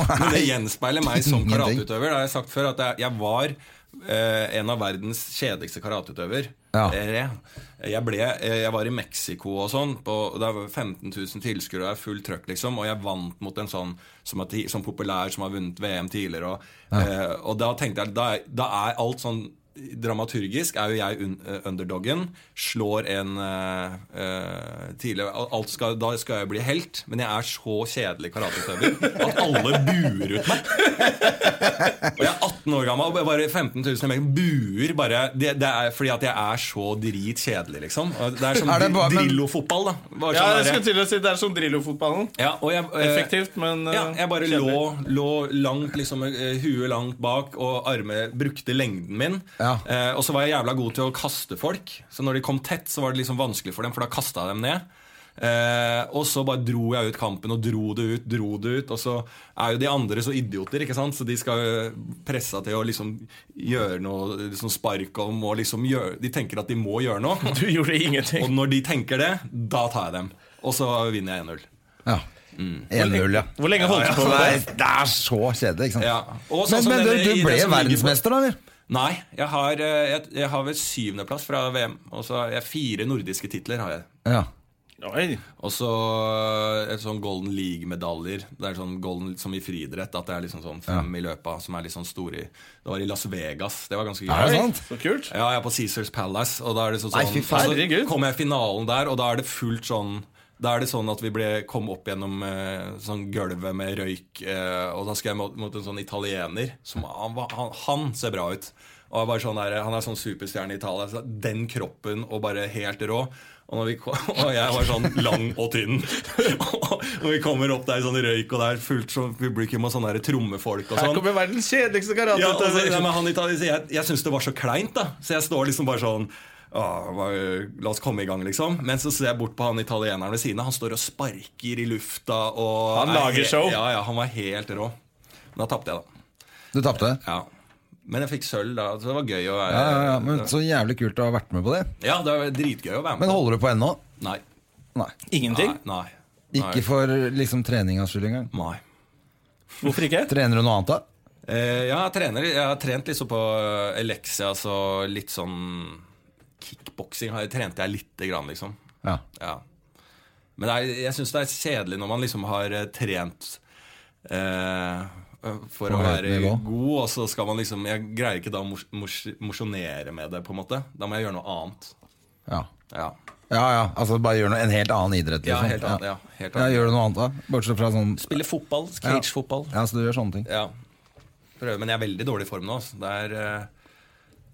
Speaker 3: Men det gjenspeiler meg som
Speaker 2: Ingenting.
Speaker 3: karateutøver. Det har jeg sagt før, at jeg, jeg var eh, en av verdens kjedeligste karateutøver.
Speaker 2: Ja.
Speaker 3: Eh, Jeg, ble, eh, jeg var i Mexico og sånn. På, og det var 15 000 tilskuere, og det er full trøkk, liksom. Og jeg vant mot en sånn som er ti, sånn populær som har vunnet VM tidligere. Og, eh, og da tenkte jeg da, er- da er alt sånn Dramaturgisk er jo jeg un eh, underdoggen. Slår en eh, eh, tidligere al- alt skal, Da skal jeg bli helt, men jeg er så kjedelig karateutøver at alle buer ut meg. Og jeg er 18 år gammel, og bare 15 000 i Mexico buer bare det, det er fordi at jeg er så dritkjedelig, liksom. Og Det er som
Speaker 2: Er det bare- men-
Speaker 3: Drillo-fotball, da. Bare
Speaker 1: Ja,
Speaker 3: sånn
Speaker 1: jeg skulle
Speaker 3: derre-
Speaker 1: til å si Det er som Drillo-fotballen.
Speaker 3: ja, og jeg, eh,
Speaker 1: Effektivt, men eh,
Speaker 3: ja, jeg bare
Speaker 1: kjedelig.
Speaker 3: lå, lå langt, liksom, eh, huet langt bak, og armene brukte lengden min.
Speaker 2: Ja.
Speaker 3: Eh, og så var jeg jævla god til å kaste folk, så når de kom tett, så var det liksom vanskelig for dem, for da kasta jeg dem ned. Eh, og så bare dro jeg ut kampen og dro det ut, dro det ut. Og så er jo de andre så idioter, ikke sant? så de skal jo pressa til å liksom gjøre noe liksom spark og må liksom gjøre De tenker at de må gjøre noe.
Speaker 1: [LAUGHS] Du gjorde ingenting.
Speaker 3: Og når de tenker det, da tar jeg dem. Og så vinner jeg 1-0.
Speaker 2: Ja. 1-0, ja.
Speaker 1: Hvor lenge holdt du på
Speaker 2: Så
Speaker 1: med
Speaker 2: det er,
Speaker 1: det?
Speaker 2: det er så kjedelig, ikke sant.
Speaker 3: Ja. Og sånn
Speaker 2: Men,
Speaker 3: som
Speaker 2: men
Speaker 3: denne-
Speaker 2: du,
Speaker 3: i
Speaker 2: du ble
Speaker 3: det som ligger på-
Speaker 2: verdensmester, da, eller?
Speaker 3: Nei, jeg har, eh, jeg, jeg har vel syvendeplass fra VM. Og så har jeg fire nordiske titler. har jeg
Speaker 2: Ja.
Speaker 1: Oi.
Speaker 3: Og så et sånn Golden League-medaljer. Det er sånn golden Som i friidrett. At det er liksom sånn fem i løpet av, som er litt sånn store. i- Det var i Las Vegas. Det var ganske gøy.
Speaker 2: Er det sant?
Speaker 1: Så kult.
Speaker 3: Ja, jeg er på Caesars Palace, og da er det sånn,
Speaker 1: Nei, fy
Speaker 3: sånn og
Speaker 1: herregud.
Speaker 3: Så kom jeg i finalen der, og da er det fullt sånn da er det sånn at vi ble, kom opp gjennom eh, sånn gulvet med røyk, eh, og da skal jeg mot, mot en sånn italiener. Som, han, var- han, han ser bra ut. Og jeg bare sånn der, Han er sånn superstjerne i Italia. Så den kroppen og bare helt rå. Og, når vi kom, [LAUGHS] og jeg var sånn lang og tynn. [LAUGHS] og når vi kommer opp der i sånn røyk, og det er fullt sånn publikum og sånne der trommefolk og
Speaker 1: Her
Speaker 3: sånn.
Speaker 1: kommer verdens kjedeligste
Speaker 3: Ja, og så,
Speaker 1: karateutøver.
Speaker 3: ja, men han italiener, jeg jeg syns det var så kleint, da. Så jeg står liksom bare sånn «Åh, hva- La oss komme i gang, liksom. Men så ser jeg bort på han italieneren ved siden av. Han står og sparker i lufta. Og
Speaker 1: Han
Speaker 3: er
Speaker 1: lager
Speaker 3: he-
Speaker 1: show.
Speaker 3: Ja, ja, han var helt rå. Men da tapte jeg, da.
Speaker 2: Du tapte.
Speaker 3: Ja. Men jeg fikk sølv, da. Så det var gøy å være
Speaker 2: Ja, ja, ja, men så jævlig kult å ha vært med på det.
Speaker 3: Ja, det var dritgøy å være med.
Speaker 2: Men holder du på ennå?
Speaker 3: Nei.
Speaker 2: Nei.
Speaker 1: Ingenting?
Speaker 3: Nei. Nei.
Speaker 2: Ikke for liksom treningas skyld engang.
Speaker 3: Nei.
Speaker 1: Hvorfor ikke?
Speaker 2: Trener du noe annet, da?
Speaker 3: Eh, jeg, er trener, jeg har trent liksom på eh, Elexia, så litt sånn Kickboksing har jeg- trente jeg lite grann, liksom.
Speaker 2: Ja.
Speaker 3: Ja. Men det er, jeg syns det er kjedelig når man liksom har eh, trent eh, for å
Speaker 2: På høyt
Speaker 3: være
Speaker 2: nivå.
Speaker 3: god, og så skal man liksom Jeg greier ikke da å mos- mos- mosjonere med det, på en måte. Da må jeg gjøre noe annet.
Speaker 2: Ja.
Speaker 3: Ja.
Speaker 2: ja ja, altså bare gjør noe, en helt annen idrett,
Speaker 3: Ja,
Speaker 2: liksom.
Speaker 3: helt annet, ja, helt
Speaker 2: Ja,
Speaker 3: annet.
Speaker 2: gjør du noe annet, da? Bortsett fra sånn
Speaker 3: Spille fotball. Cagefotball.
Speaker 2: Ja, så du gjør sånne ting.
Speaker 3: Ja. Prøve, men jeg er veldig dårlig i form nå. altså. Det er eh,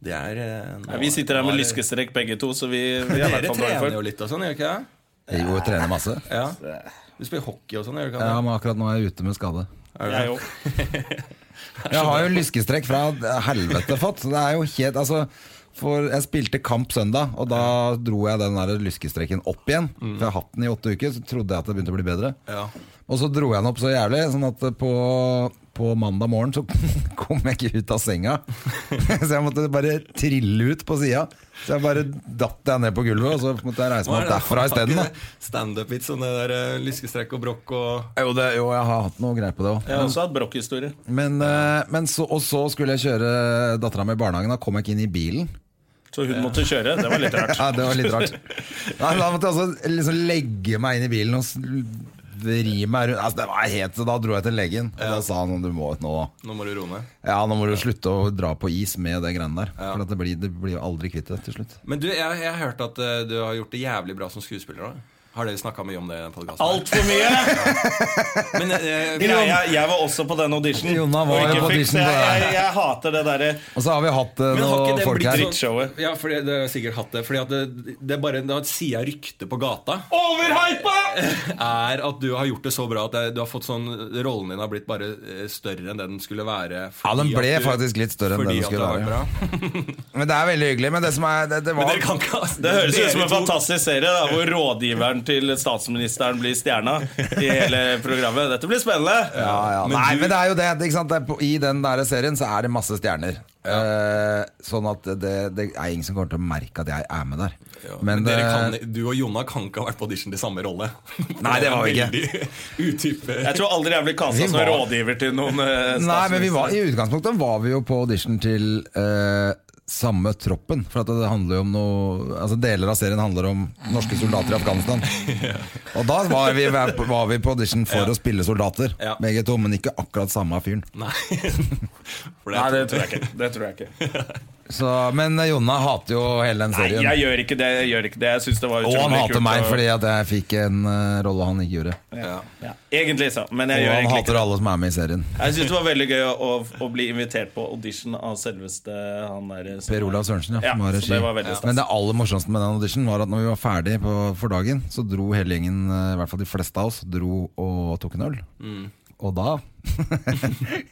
Speaker 3: Det er eh, nå-
Speaker 1: Nei, vi sitter her med
Speaker 3: nå er-
Speaker 1: lyskestrekk begge to, så vi, vi er i
Speaker 3: Dere
Speaker 1: hvert fall dårlig
Speaker 3: trener
Speaker 1: for.
Speaker 3: jo litt og sånn, gjør ikke det?
Speaker 2: Jeg jo, jeg trener masse.
Speaker 3: Ja. Du spiller hockey og sånn, gjør du ikke
Speaker 2: Ja,
Speaker 3: det?
Speaker 2: men akkurat nå er jeg ute med skade.
Speaker 3: Er du
Speaker 1: Jeg
Speaker 3: det?
Speaker 1: òg.
Speaker 2: Jeg har jo lyskestrekk fra helvete fått. Det er jo helt Altså, for jeg spilte kamp søndag, og da dro jeg den der lyskestrekken opp igjen. For jeg har hatt den i åtte uker, så trodde jeg at det begynte å bli bedre.
Speaker 3: Ja.
Speaker 2: Og så dro jeg den opp så jævlig, sånn at på, på mandag morgen så [LAUGHS] kom jeg ikke ut av senga. [LAUGHS] Så jeg måtte bare trille ut på sida. Så jeg bare datt jeg ned på gulvet, og så måtte jeg reise meg opp derfra isteden. da.
Speaker 3: Standup-vits om det der eh, lyskestrekk og brokk
Speaker 2: [LAUGHS]
Speaker 3: og
Speaker 2: Jo, det- jo, jeg har hatt noe greier på det òg.
Speaker 1: Jeg har også hatt brokkhistorie.
Speaker 2: Men, eh, men så, og så skulle jeg kjøre dattera mi i barnehagen. Da kom jeg ikke inn i bilen.
Speaker 1: Så hun måtte kjøre. Det var litt rart.
Speaker 2: [LAUGHS] Ja, det var litt rart. Nei, da måtte jeg altså liksom legge meg inn i bilen og s- vri meg rundt. Altså, det var helt, så da dro jeg til legen, og da sa han du må ut nå.
Speaker 3: Nå må du roe ned.
Speaker 2: Ja, nå må du slutte å dra på is med det greiene der. For at det blir, det blir jo aldri kvitt det til slutt.
Speaker 3: Men du, jeg, jeg har hørt at eh, du har gjort det jævlig bra som skuespiller òg. Har dere snakka mye om det i den podkasten?
Speaker 1: Altfor mye!
Speaker 3: Men [LAUGHS] eh,
Speaker 1: Greia, jeg, jeg var også på den auditionen.
Speaker 2: Jonna var
Speaker 1: og ikke
Speaker 2: jo på
Speaker 1: fikk,
Speaker 2: audition
Speaker 1: så
Speaker 2: på
Speaker 1: jeg,
Speaker 2: det.
Speaker 1: jeg, jeg hater det derre
Speaker 2: Og så har vi hatt eh,
Speaker 3: Men har ikke
Speaker 2: noen
Speaker 3: det
Speaker 2: folk
Speaker 3: blitt
Speaker 2: her.
Speaker 3: sånn-
Speaker 1: Drittshowet.
Speaker 3: Ja, for det, det har jeg sikkert hatt det. Fordi at det, det er bare, Da sier jeg rykte på gata,
Speaker 1: Overhypa!
Speaker 3: [LAUGHS] er at du har gjort det så bra at det, du har fått sånn Rollen din har blitt bare eh, større enn det den skulle være.
Speaker 2: Ja, den
Speaker 3: fordi at
Speaker 2: ble
Speaker 3: du-
Speaker 2: faktisk litt større enn det
Speaker 3: fordi
Speaker 2: den
Speaker 3: at
Speaker 2: skulle
Speaker 3: har vært
Speaker 2: være.
Speaker 3: bra.
Speaker 2: Men det er veldig hyggelig. Men det som er Det, det
Speaker 3: Men
Speaker 2: var
Speaker 3: dere kan ikke
Speaker 1: Det høres ut som
Speaker 3: dere
Speaker 1: en
Speaker 3: to-
Speaker 1: fantastisk serie da, hvor rådgiveren til statsministeren blir stjerna i hele programmet. Dette blir spennende.
Speaker 2: ja, ja.
Speaker 3: Men
Speaker 2: Nei,
Speaker 3: du-
Speaker 2: men det er jo det. Ikke sant? Det er på, I den der serien så er det masse stjerner. Eh, sånn at det, det er ingen som kommer til å merke at jeg er med der.
Speaker 3: Ja,
Speaker 2: men eh,
Speaker 3: men
Speaker 1: eh,
Speaker 3: dere
Speaker 2: det-
Speaker 3: kan, du og Jonna kan ikke ha vært på audition til samme
Speaker 1: [LAUGHS]
Speaker 3: rolle.
Speaker 2: Nei, det var vi ikke.
Speaker 3: Veldig utype.
Speaker 1: Jeg tror aldri jeg blir kasta
Speaker 2: Vi
Speaker 1: som
Speaker 2: var-
Speaker 1: rådgiver til noen eh,
Speaker 2: Nei, men vi var,
Speaker 1: statsminister.
Speaker 2: I utgangspunktet var vi jo på audition til eh, samme troppen. For at det handler jo om noe Altså Deler av serien handler om norske soldater i Afghanistan.
Speaker 1: [LAUGHS]
Speaker 2: Og da var vi, var vi på audition for å spille soldater,
Speaker 3: Ja.
Speaker 2: begge to. Men ikke akkurat samme fyren.
Speaker 3: [LAUGHS] Nei. For
Speaker 1: Nei, det tror jeg ikke. Det tror jeg ikke.
Speaker 2: Så, men eh, Jonna hater jo hele den
Speaker 1: Nei,
Speaker 2: serien.
Speaker 1: jeg gjør ikke det. Jeg gjør ikke det. Jeg synes det var
Speaker 2: og han
Speaker 1: utrolig
Speaker 2: hater
Speaker 1: kult
Speaker 2: meg
Speaker 1: å-
Speaker 2: fordi at jeg fikk en eh, rolle han ikke gjorde.
Speaker 3: Ja.
Speaker 1: ja. Egentlig, så. Men jeg
Speaker 2: Og
Speaker 1: gjør
Speaker 2: han
Speaker 1: egentlig ikke
Speaker 2: hater alle som er med i serien.
Speaker 1: det. Jeg synes det var veldig gøy å, å bli invitert på audition av selveste han der eh, som-
Speaker 2: Per Olav Sørensen, ja.
Speaker 1: Ja,
Speaker 2: som var
Speaker 1: så
Speaker 2: regi.
Speaker 1: det var veldig stas.
Speaker 2: Men det aller morsomste med den auditionen var at når vi var ferdig på, for dagen, så dro hele gjengen, eh, i hvert fall de fleste av oss, dro og tok en øl.
Speaker 1: Mm.
Speaker 2: Og da [LAUGHS]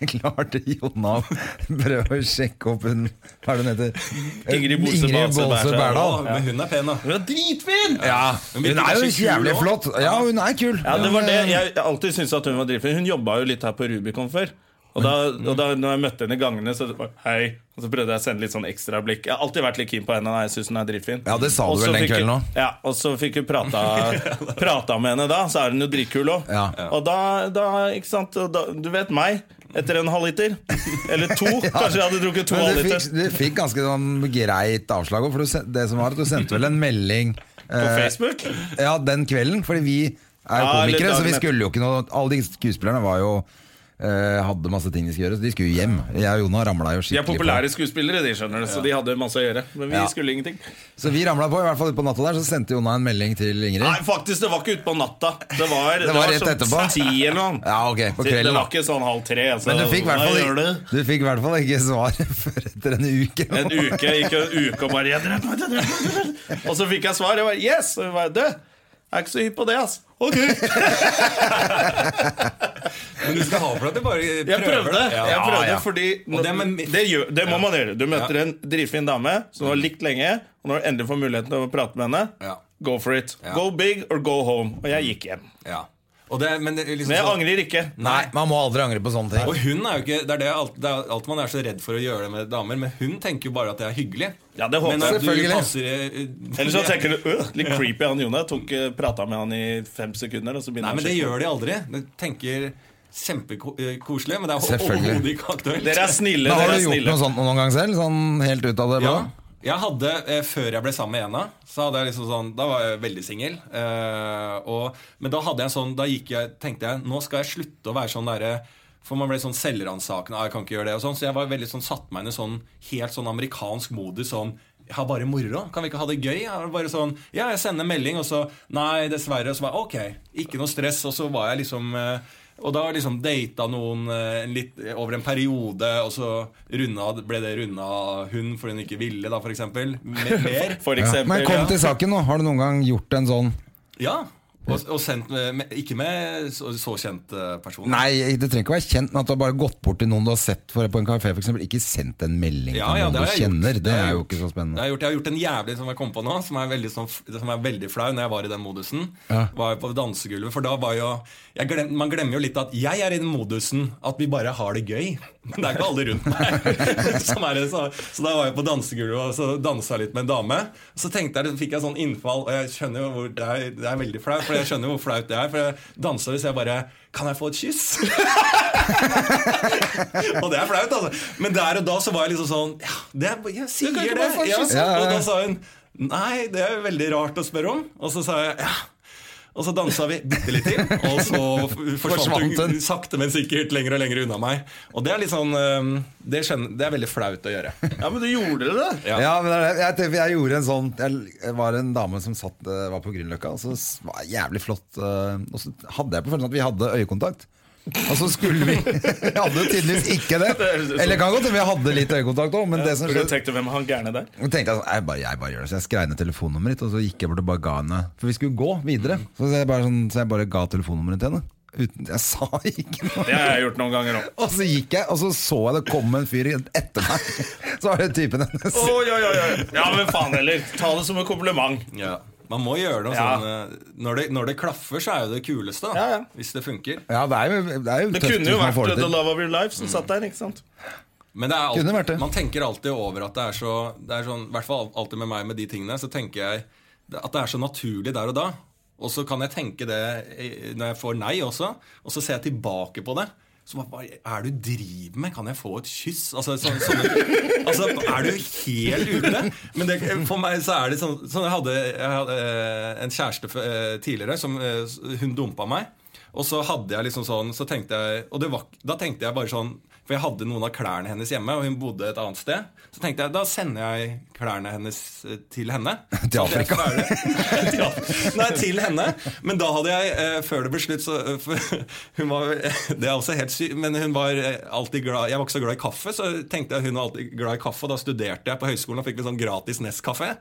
Speaker 2: klarte Jonna å prøve å sjekke opp hun Hva er det hun heter?
Speaker 1: Ingrid Bolse Base Berdal.
Speaker 2: Berdal.
Speaker 3: Å, Men hun er pen, da.
Speaker 1: Hun er dritfin!
Speaker 2: Ja,
Speaker 3: Hun
Speaker 2: hun
Speaker 3: virker
Speaker 2: er jo
Speaker 3: ganske kul
Speaker 2: jævlig
Speaker 3: også.
Speaker 2: flott. Ja, hun er kul.
Speaker 1: Ja, det var det.
Speaker 2: Men, eh,
Speaker 1: Jeg har alltid syntes at hun var dritfin. Hun jobba jo litt her på Rubicon før. Og da,
Speaker 2: Mm.
Speaker 1: og da når jeg møtte henne i gangene, så var det hei. Og så prøvde jeg å sende litt sånn ekstra blikk. Jeg har alltid vært litt keen på henne. og Jeg synes hun er dritfin
Speaker 2: Ja, det sa du
Speaker 1: Og så
Speaker 2: vel den
Speaker 1: fikk-
Speaker 2: kvelden også.
Speaker 1: Ja, Og så fikk hun
Speaker 2: [LAUGHS]
Speaker 1: prata, prata med henne da, så er hun jo dritkul òg.
Speaker 2: Ja.
Speaker 1: Og da, da, ikke sant og da, Du vet meg. Etter en halvliter. Eller
Speaker 2: [LAUGHS]
Speaker 1: to. Kanskje jeg hadde drukket to
Speaker 2: Men du
Speaker 1: halvliter.
Speaker 2: fikk, du fikk ganske sånn greit avslag òg, for du, sen- det som var at du sendte vel en melding
Speaker 1: På Facebook?
Speaker 2: Ja, den kvelden, fordi vi er jo
Speaker 1: Ja, eller
Speaker 2: komikere, så vi
Speaker 1: dagen etter.
Speaker 2: skulle jo ikke noe Alle de skuespillerne var jo eh, hadde masse ting de skulle gjøre, så de skulle jo hjem. Jeg og Jona ramla jo
Speaker 1: De er
Speaker 2: skikkelig
Speaker 1: populære skuespillere, de skjønner det, så de hadde masse å gjøre. Men vi
Speaker 2: Ja.
Speaker 1: skulle ingenting.
Speaker 2: på. Så vi ramla på, i hvert fall utpå natta der, så sendte Jona en melding til Ingrid.
Speaker 1: Nei, faktisk, det var ikke utpå natta. Det var,
Speaker 2: Det var rett
Speaker 1: sånn
Speaker 2: etterpå.
Speaker 1: Ti eller noe.
Speaker 2: Ja, ok, på
Speaker 1: Det- Det
Speaker 2: kvelden.
Speaker 1: var ikke sånn halv tre. altså.
Speaker 2: Men du fikk i hvert
Speaker 1: Hva
Speaker 2: fall
Speaker 1: gjør
Speaker 2: ikke-
Speaker 1: du?
Speaker 2: du fikk i hvert fall ikke svar [LAUGHS] før etter en uke.
Speaker 1: En uke, jeg gikk en uke og bare jeg drev meg, jeg drev meg, jeg drev meg. Og så fikk jeg svar. Jeg bare, yes! Og hun bare, du, jeg er ikke så hypp på det, ass. Ok,
Speaker 3: Men du skal ha for deg at du bare prøver.
Speaker 1: Jeg prøvde,
Speaker 3: Ja.
Speaker 1: jeg prøvde
Speaker 3: Ja, ja.
Speaker 1: fordi
Speaker 3: Og det, men,
Speaker 1: det, gjør, det må man gjøre. Du møter en dritfin dame som du har likt lenge, og når du endelig får muligheten til å prate med henne,
Speaker 3: Mm. Ja.
Speaker 1: go for it.
Speaker 3: Ja.
Speaker 1: Go big or go home. Og jeg gikk hjem.
Speaker 3: ja. Og det, men det, er liksom,
Speaker 1: Men jeg
Speaker 3: sånn-
Speaker 1: angrer ikke.
Speaker 3: Nei.
Speaker 2: Man må aldri angre på sånne ting.
Speaker 3: Og hun er jo ikke Det er det alt, det er alt man er så redd for å gjøre det med damer, men hun tenker jo bare at det er hyggelig.
Speaker 1: Ja, det håper
Speaker 3: men
Speaker 1: jeg.
Speaker 3: at du
Speaker 2: Selvfølgelig.
Speaker 3: passer eh,
Speaker 1: Eller så tenker du øh,
Speaker 3: [LAUGHS]
Speaker 1: litt creepy han Jone. Tok prata med han i fem sekunder, og så
Speaker 3: Nei,
Speaker 1: begynner
Speaker 3: men det
Speaker 1: han å sjekke.
Speaker 3: gjør de aldri. De tenker kjempekoselig, men det er
Speaker 2: Selvfølgelig.
Speaker 3: overhodet ikke aktuelt.
Speaker 1: Dere er altså. snille.
Speaker 2: Men har
Speaker 1: Dere
Speaker 2: du
Speaker 1: er
Speaker 2: gjort
Speaker 1: snille.
Speaker 2: noe sånt noen gang selv? Sånn helt ut av det blå?
Speaker 3: Ja. Jeg hadde, eh, Før jeg ble sammen med Ena, så hadde jeg liksom sånn, da var jeg veldig singel. Eh, og- men da hadde jeg en sånn, da gikk jeg, tenkte jeg nå skal jeg slutte å være sånn derre For man ble sånn selvransakende. «Ah, Jeg kan ikke gjøre det og sånn, Så jeg var veldig sånn, satte meg inn i sånn helt sånn amerikansk modus sånn jeg har bare moro. Kan vi ikke ha det gøy? Jeg har bare sånn, ja, jeg sender en melding, og så Nei, dessverre. Og så bare ok, ikke noe stress. Og så var jeg liksom eh, og da liksom data noen eh, en litt, over en periode, og så runda, ble det runda hun fordi hun ikke ville, da, for eksempel.
Speaker 1: [LAUGHS]
Speaker 3: Mer. mer.
Speaker 1: For
Speaker 2: Ja.
Speaker 1: eksempel.
Speaker 2: Men kom
Speaker 1: ja.
Speaker 2: til saken nå. Har du noen gang gjort en sånn
Speaker 3: Ja. Og, og sendt med, med, ikke med så, så kjent eh, person.
Speaker 2: Nei, det trenger ikke å være kjent, men at du har bare gått bort til noen du har sett for, på en kafé, f.eks. Ikke sendt en melding
Speaker 3: Ja,
Speaker 2: til
Speaker 3: ja,
Speaker 2: noen du
Speaker 3: det har jeg
Speaker 2: kjenner.
Speaker 3: gjort.
Speaker 2: Det
Speaker 3: har
Speaker 2: er
Speaker 3: jeg
Speaker 2: jo
Speaker 3: gjort.
Speaker 2: ikke så
Speaker 3: Det
Speaker 2: spennende.
Speaker 3: har jeg, gjort. jeg har gjort en jævlig som jeg kom på nå, som er veldig, sånn, f- som er veldig flau når jeg var i den modusen. Var på dansegulvet, for da var jo jeg glem, Man glemmer jo litt at jeg er i den modusen at vi bare har det gøy. Men det er ikke alle rundt meg. [LAUGHS] som er det, så, så da var jeg på dansegulvet og så dansa jeg litt med en dame. Så tenkte jeg, så fikk jeg sånn innfall, og jeg skjønner jo hvor det er, det er veldig flaut, for jeg skjønner jo hvor flaut det er. For jeg dansa hvis jeg bare Kan jeg få et kyss? Og det er flaut, altså. Men der og da så var jeg liksom sånn Ja, det er, jeg sier
Speaker 1: kan ikke
Speaker 3: det.
Speaker 1: bare få
Speaker 3: Ja.
Speaker 1: kyss.
Speaker 2: Ja, ja, ja.
Speaker 3: Og da sa hun Nei, det er jo veldig rart å spørre om. Og så sa jeg ja. Og så dansa vi bitte litt til, og så f- forsvant
Speaker 2: Forsvant hun.
Speaker 3: hun sakte, men sikkert lenger og lenger unna meg. Og det er litt sånn øhm, Det, skjønner, det er veldig flaut å gjøre.
Speaker 1: Ja, men du gjorde det.
Speaker 3: Ja.
Speaker 2: Ja, men det er det. jeg, tenker- jeg gjorde en sånn Jeg var en dame som satt, eh, var på Grünerløkka, og så s- var jeg jævlig flott. eh, Og så hadde jeg på følelsen at vi hadde øyekontakt. Og så skulle vi [LAUGHS] Vi hadde jo tydeligvis ikke
Speaker 3: [LAUGHS]
Speaker 2: det. Eller kan godt hende vi hadde litt øyekontakt òg, men det som
Speaker 1: For
Speaker 2: skjedde
Speaker 1: du tenkte hvem er han gærne der?
Speaker 2: Og tenkte jeg, sånn, jeg, bare, jeg bare gjør det Så jeg skrev ned telefonnummeret ditt Og så gikk jeg bort og bare ga henne For vi skulle gå videre Så jeg bare, sånn, så jeg bare ga telefonnummeret til henne Uten, Jeg sa [LAUGHS] ikke noe
Speaker 1: Det har jeg gjort noen ganger òg.
Speaker 2: Og så gikk jeg Og så så jeg det kom en fyr etter meg [LAUGHS] Så var det typen hennes
Speaker 1: Oi, oi, oi, oi. Ja, men faen heller. Ta det som en kompliment.
Speaker 3: Ja. Man må gjøre noe
Speaker 1: Ja.
Speaker 3: sånn øh, når det, når det klaffer, så er jo det kuleste, da.
Speaker 1: Ja, ja.
Speaker 3: Hvis det funker.
Speaker 2: Ja, det er jo, det er jo
Speaker 1: Det
Speaker 2: tøft
Speaker 1: kunne jo
Speaker 2: hvis man
Speaker 1: vært
Speaker 2: får det
Speaker 1: The
Speaker 2: til
Speaker 1: Love of Your Life som satt der. ikke sant?
Speaker 3: Men det er alltid,
Speaker 2: Kunne vært det.
Speaker 3: man tenker alltid over at det er så det er sånn, I hvert fall alltid med meg med de tingene, så tenker jeg at det er så naturlig der og da. Og så kan jeg tenke det eh, når jeg får nei også, og så ser jeg tilbake på det. Så bare, hva er det du driver med? Kan jeg få et kyss? Altså, sånn- sånne- altså er du helt ute? Men det, for meg så er det sånn, sånn jeg, hadde, jeg hadde eh, en kjæreste eh, tidligere, som eh, hun dumpa meg. Og så hadde jeg liksom sånn så tenkte jeg, Og det var, da tenkte jeg bare sånn For jeg hadde noen av klærne hennes hjemme, og hun bodde et annet sted. Så tenkte jeg da sender jeg klærne hennes eh, til henne.
Speaker 2: [LAUGHS] Til
Speaker 3: Så at jeg
Speaker 2: Afrika.
Speaker 3: klarer- [LAUGHS] Til Af- Nei, til henne. Men da hadde jeg, eh, før det ble slutt så, eh, for, [LAUGHS] hun var, Det er også helt sykt, men hun var eh, alltid glad Jeg var ikke så glad i kaffe, så tenkte jeg hun var alltid glad i kaffe, og da studerte jeg på høyskolen og fikk litt sånn gratis Nest-kaffe.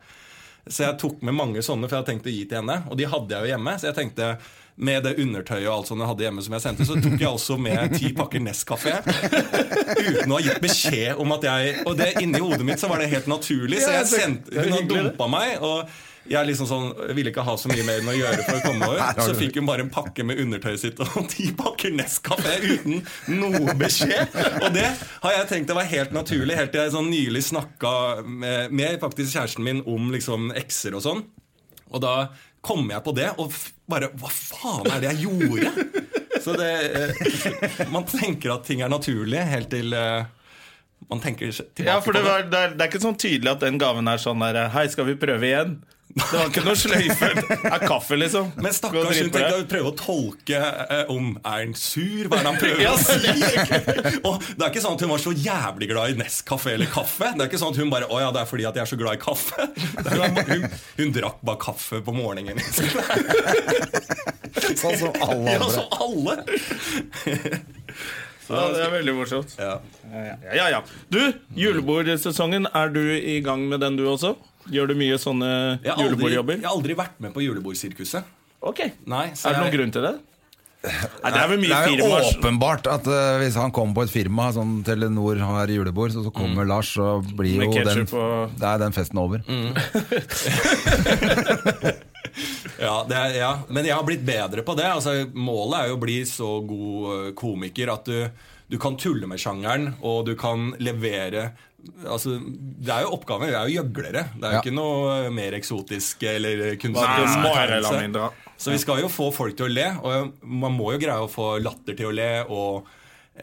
Speaker 3: Så jeg tok med mange sånne, for jeg hadde tenkt å gi til henne. Og de hadde jeg jo hjemme. Så jeg tenkte med det undertøyet og alt sånt jeg hadde hjemme, som jeg sendte, så tok jeg også med ti pakker Nescafé. Uten å ha gitt beskjed om at jeg Og det inni hodet mitt så var det helt naturlig. Så
Speaker 1: Ja,
Speaker 3: jeg
Speaker 1: det-
Speaker 3: sendte,
Speaker 1: det er
Speaker 3: hun har
Speaker 1: hyggelig, det.
Speaker 3: dumpa meg. og jeg liksom sånn, jeg ville ikke ha så mye mer enn å gjøre for å komme over. Så fikk hun bare en pakke med undertøyet sitt og [LAUGHS] ti pakker Nescafé uten noe beskjed. Og det har jeg tenkt det var helt naturlig, helt til jeg sånn nylig snakka med, med faktisk kjæresten min om liksom ekser og sånn. Og da kom jeg på det, og f- bare Hva faen er det jeg gjorde? Så det eh, Man tenker at ting er naturlig, helt til eh, man tenker s- tilbake
Speaker 1: Ja, for det,
Speaker 3: på det.
Speaker 1: var, det, er, det er ikke sånn tydelig at den gaven er sånn der Hei, skal vi prøve igjen? Det var ikke noe sløyfe av kaffe, liksom. [LAUGHS]
Speaker 3: Men stakkars, hun tenkte å prøve å tolke eh, om Er han sur? Hva
Speaker 1: [LAUGHS]
Speaker 3: er det han prøver
Speaker 1: Ja,
Speaker 3: å si? [LAUGHS] og det er ikke sånn at hun var så jævlig glad i Nescafé eller kaffe. Det er ikke sånn at hun bare Å ja, det er fordi at jeg er så glad i kaffe. [LAUGHS] Det er Hun, hun, hun drakk bare kaffe på
Speaker 1: [LAUGHS]
Speaker 3: morgenen.
Speaker 2: Sånn som alle
Speaker 3: [LAUGHS] Ja,
Speaker 2: andre.
Speaker 3: som alle!
Speaker 1: Ja, det er veldig morsomt.
Speaker 3: Ja.
Speaker 1: Ja, ja, ja. Du, julebordsesongen, er du i gang med den du også? Gjør du mye sånne
Speaker 3: Jeg, har aldri,
Speaker 1: julebordjobber?
Speaker 3: jeg har aldri vært med på julebordsirkuset.
Speaker 1: Ok.
Speaker 3: Nei, så
Speaker 1: er det noen
Speaker 3: jeg-
Speaker 1: grunn til det? Nei, det er vel
Speaker 2: Det
Speaker 1: mye
Speaker 2: er jo
Speaker 1: firmaer
Speaker 2: åpenbart at eh, hvis han kommer på et firma som Telenor har julebord, så, så kommer Lars, så blir
Speaker 1: Mm. Med
Speaker 2: jo den,
Speaker 1: ketchup og- Mm.
Speaker 2: det er den festen over. [LAUGHS]
Speaker 3: Ja, det er, ja, men jeg har blitt bedre på det. Altså, målet er jo å bli så god eh, komiker at du, du kan tulle med sjangeren, og du kan levere Altså, det er jo oppgaven. Vi er jo gjøglere. Det er jo
Speaker 2: Ja.
Speaker 3: ikke noe eh, mer eksotisk eller
Speaker 1: Nei,
Speaker 3: kunstnerisk
Speaker 1: nei, nei, la meg
Speaker 3: utdannelse.
Speaker 1: dra.
Speaker 3: Så vi skal jo få folk til å le, og man må jo greie å få latter til å le, og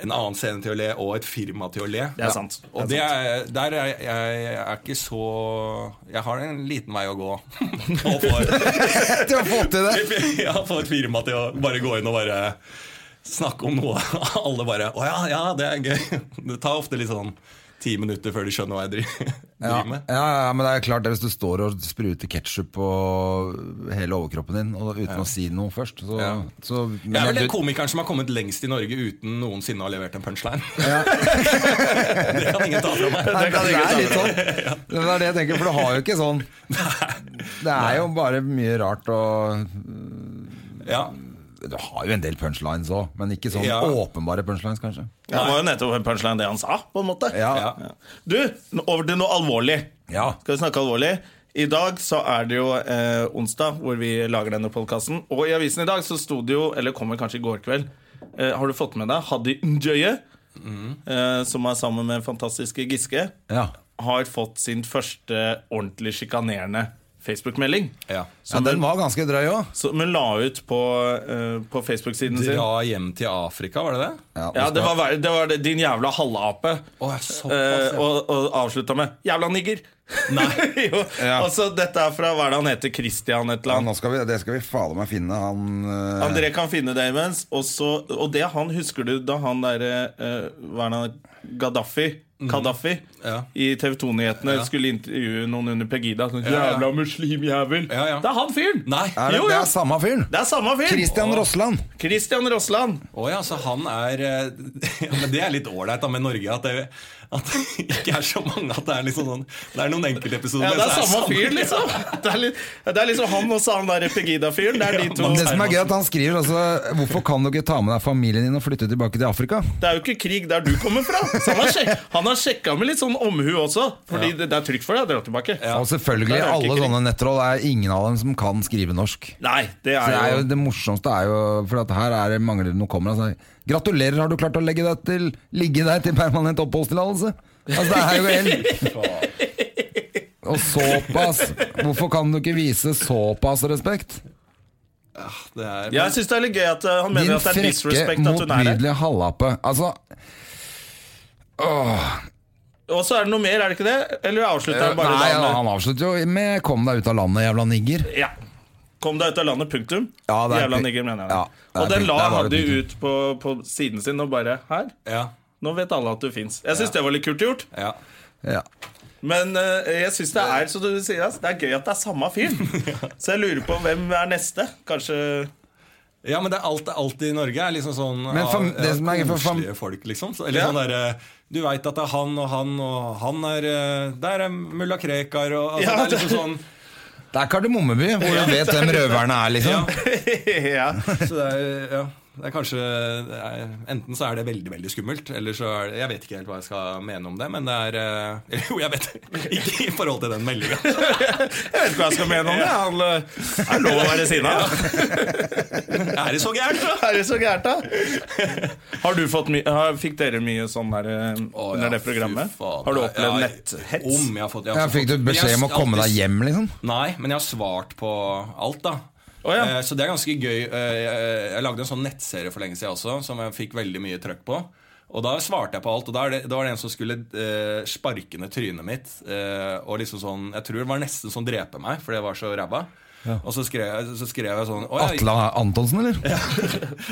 Speaker 3: en annen scene til å le, og et firma til å le.
Speaker 1: Det er sant. Det er
Speaker 3: Og det er, der er jeg, jeg er ikke så Jeg har en liten vei å gå. [LAUGHS] og for,
Speaker 2: Til å få til det!
Speaker 3: ja, få et firma til å bare gå inn og bare snakke om noe. [LAUGHS] Alle bare 'Å ja, ja, det er gøy'. Det tar ofte litt sånn ti minutter før de skjønner hva jeg driver, [LAUGHS]
Speaker 2: Ja,
Speaker 3: driver med.
Speaker 2: ja, ja, men det er klart det hvis du står og spruter ketsjup på hele overkroppen din og uten å si noe først, så,
Speaker 3: Ja.
Speaker 2: så men
Speaker 3: Jeg er vel den
Speaker 2: du-
Speaker 3: komikeren som har kommet lengst i Norge uten noensinne å ha levert en punchline. [LAUGHS] det kan ingen ta fra meg.
Speaker 2: Nei, det er litt sånn. Det er det jeg tenker, for du har jo ikke sånn. Det er jo bare mye rart og
Speaker 3: Ja.
Speaker 2: Du har jo en del punchlines òg, men ikke sånn
Speaker 3: Ja.
Speaker 2: åpenbare punchlines, kanskje.
Speaker 1: Det var jo nettopp en punchline, det han sa, på en måte.
Speaker 2: Ja.
Speaker 3: Ja.
Speaker 1: Ja. Du, nå over til noe alvorlig.
Speaker 2: Ja.
Speaker 1: Skal vi snakke alvorlig? I dag så er det jo eh, onsdag hvor vi lager denne podkasten. Og i avisen i dag så sto det jo, eller kommer kanskje i går kveld eh, Har du fått med deg Haddy Njøye, eh, som er sammen med fantastiske Giske,
Speaker 2: Ja.
Speaker 1: har fått sin første ordentlig sjikanerende Facebook-melding.
Speaker 3: Ja.
Speaker 2: ja, den var ganske drøy òg.
Speaker 1: Som hun la ut på, eh, på Facebook-siden sin.
Speaker 3: Dra hjem til Afrika, var det det?
Speaker 1: Ja, det var, verre- det var det, din jævla halvape.
Speaker 3: Å, jeg er såpass,
Speaker 1: Eh,
Speaker 3: ja.
Speaker 1: og, og avslutta med 'jævla nigger'.
Speaker 3: Nei.
Speaker 1: [LAUGHS] jo. Og så dette er fra hva er det han heter? Christian et
Speaker 2: nå
Speaker 1: eller annet.
Speaker 2: skal vi, Det skal vi fader meg finne, han eh,
Speaker 1: André kan finne det imens. Og, så, og det han husker du da han derre eh, Hva er det han heter? Gaddafi? Kaddafi
Speaker 3: Mhm. Ja.
Speaker 1: i TV 2-nyhetene skulle intervjue noen under Pegida. Sånn,
Speaker 3: ja.
Speaker 1: 'Jævla muslimjævel'.
Speaker 3: Ja, ja.
Speaker 1: Det er han fyren!
Speaker 3: Nei.
Speaker 2: er det,
Speaker 1: jo, jo.
Speaker 2: det er samme fyren!
Speaker 1: Det er samme fyr!
Speaker 2: Christian Rossland.
Speaker 1: Christian Rossland.
Speaker 3: Å ja, så han er eh, [LAUGHS] ja, Men det er litt ålreit da med Norge, at det, at det ikke er så mange. At det er liksom sånn Det er noen enkeltepisoder.
Speaker 1: Ja, det
Speaker 3: men
Speaker 1: er
Speaker 3: så
Speaker 1: samme fyr,
Speaker 3: ja.
Speaker 1: liksom. [LAUGHS] Det er, litt, det er liksom han og så han der Pegida-fyren. Det er de to.
Speaker 2: Det som er gøy, at han skriver altså Hvorfor kan du ikke ta med deg familien din og flytte tilbake til Afrika?
Speaker 1: Det er jo ikke krig der du kommer fra. Så han har,
Speaker 2: [LAUGHS]
Speaker 1: sjek han har sjekka med litt sånn omhu også. Fordi det, det er trygt for deg å dra tilbake.
Speaker 2: Og selvfølgelig,
Speaker 1: Det er jo ikke
Speaker 2: alle
Speaker 1: krig.
Speaker 2: sånne nettroll er ingen av dem som kan skrive norsk.
Speaker 1: Nei, det
Speaker 2: Så
Speaker 1: er
Speaker 2: det, er
Speaker 1: jo
Speaker 2: jo, det morsomste er jo For at her er det mangler det noe kommer altså. Gratulerer, har du klart å legge deg til Ligge deg til permanent oppholdstillatelse? Altså det er jo
Speaker 1: [LAUGHS]
Speaker 2: helt Og såpass Hvorfor kan du ikke vise såpass respekt?
Speaker 3: Det er,
Speaker 1: Jeg syns det er litt gøy at uh, han mener
Speaker 2: Din
Speaker 1: at det er
Speaker 2: frekke,
Speaker 1: disrespect at hun er her.
Speaker 2: motbydelige halvape Altså,
Speaker 1: Og så er det noe mer, er det ikke det? Eller avslutter han bare
Speaker 2: Eh, nei,
Speaker 1: da med-
Speaker 2: han avslutter jo med Kom deg ut av landet, jævla nigger
Speaker 1: Ja. Kom deg ut av landet, punktum.
Speaker 2: Ja, det er
Speaker 1: Jævla
Speaker 2: punk-
Speaker 1: nigger, mener jeg.
Speaker 2: Ja,
Speaker 1: det.
Speaker 2: det er
Speaker 1: og den
Speaker 2: punk-
Speaker 1: la
Speaker 2: der var
Speaker 1: Haddy
Speaker 2: det
Speaker 1: ut på, på siden sin og bare Her.
Speaker 3: ja,
Speaker 1: Nå vet alle at du fins. Jeg syns det var litt kult gjort.
Speaker 3: ja.
Speaker 2: ja.
Speaker 1: Men eh, jeg syns det er som du sier, ass, det er gøy at det er samme
Speaker 2: [LAUGHS]
Speaker 1: fyr. Så jeg lurer på hvem er neste. Kanskje [LAUGHS]
Speaker 3: ja, men det er alt, alt i Norge er liksom sånn
Speaker 2: Men fam-
Speaker 3: ja,
Speaker 2: det som er gøy for fam-
Speaker 3: koselige folk, liksom. Så, eller
Speaker 1: Ja.
Speaker 3: sånn derre Du veit at det er han og han og han er eh, Der er mulla Krekar og altså,
Speaker 1: Ja,
Speaker 3: Det er liksom sånn
Speaker 2: Det er Kardemommeby, hvor du vet hvem røverne er liksom
Speaker 3: ja,
Speaker 1: ja.
Speaker 3: Så det er, ja, det er kanskje det er, Enten så er det veldig veldig skummelt, eller så er det Jeg vet ikke helt hva jeg skal mene om det, men det er eh, [LAUGHS] eller Jo, jeg vet det. Ikke i forhold til den meldinga.
Speaker 1: [LAUGHS] Jeg vet ikke hva jeg skal mene om det. Han, eh, er det lov å være sinna.
Speaker 3: [LAUGHS] Er det så gærent? da?
Speaker 1: Er det så gærent, da? [LAUGHS] Har du fått mye har- Fikk dere mye sånn der eh,
Speaker 3: Å,
Speaker 1: under
Speaker 3: ja,
Speaker 1: det programmet?
Speaker 3: fy faen.
Speaker 1: Har du
Speaker 3: Ja,
Speaker 1: opplevd
Speaker 3: jeg-
Speaker 1: netthets? [LAUGHS]
Speaker 3: Om jeg har fått, jeg har
Speaker 2: ja,
Speaker 3: fått-
Speaker 2: Fikk du
Speaker 3: Men jeg
Speaker 2: beskjed om å
Speaker 3: har
Speaker 2: komme deg
Speaker 3: alltid-
Speaker 2: hjem liksom
Speaker 3: Nei, men jeg har svart på alt, da.
Speaker 1: Å, ja.
Speaker 3: Eh, Så det er ganske gøy. Eh, Jeg jeg lagde en sånn nettserie for lenge siden også, som jeg fikk veldig mye trøkk på. Og da svarte jeg på alt. Og da, er det, da var det en som skulle eh, sparke ned trynet mitt. eh, og liksom sånn, Jeg tror det var nesten sånn drepe meg, for det var så ræva. Og så skrev, jeg- så skrev jeg sånn «Å, jeg-
Speaker 2: Atle Antonsen, eller?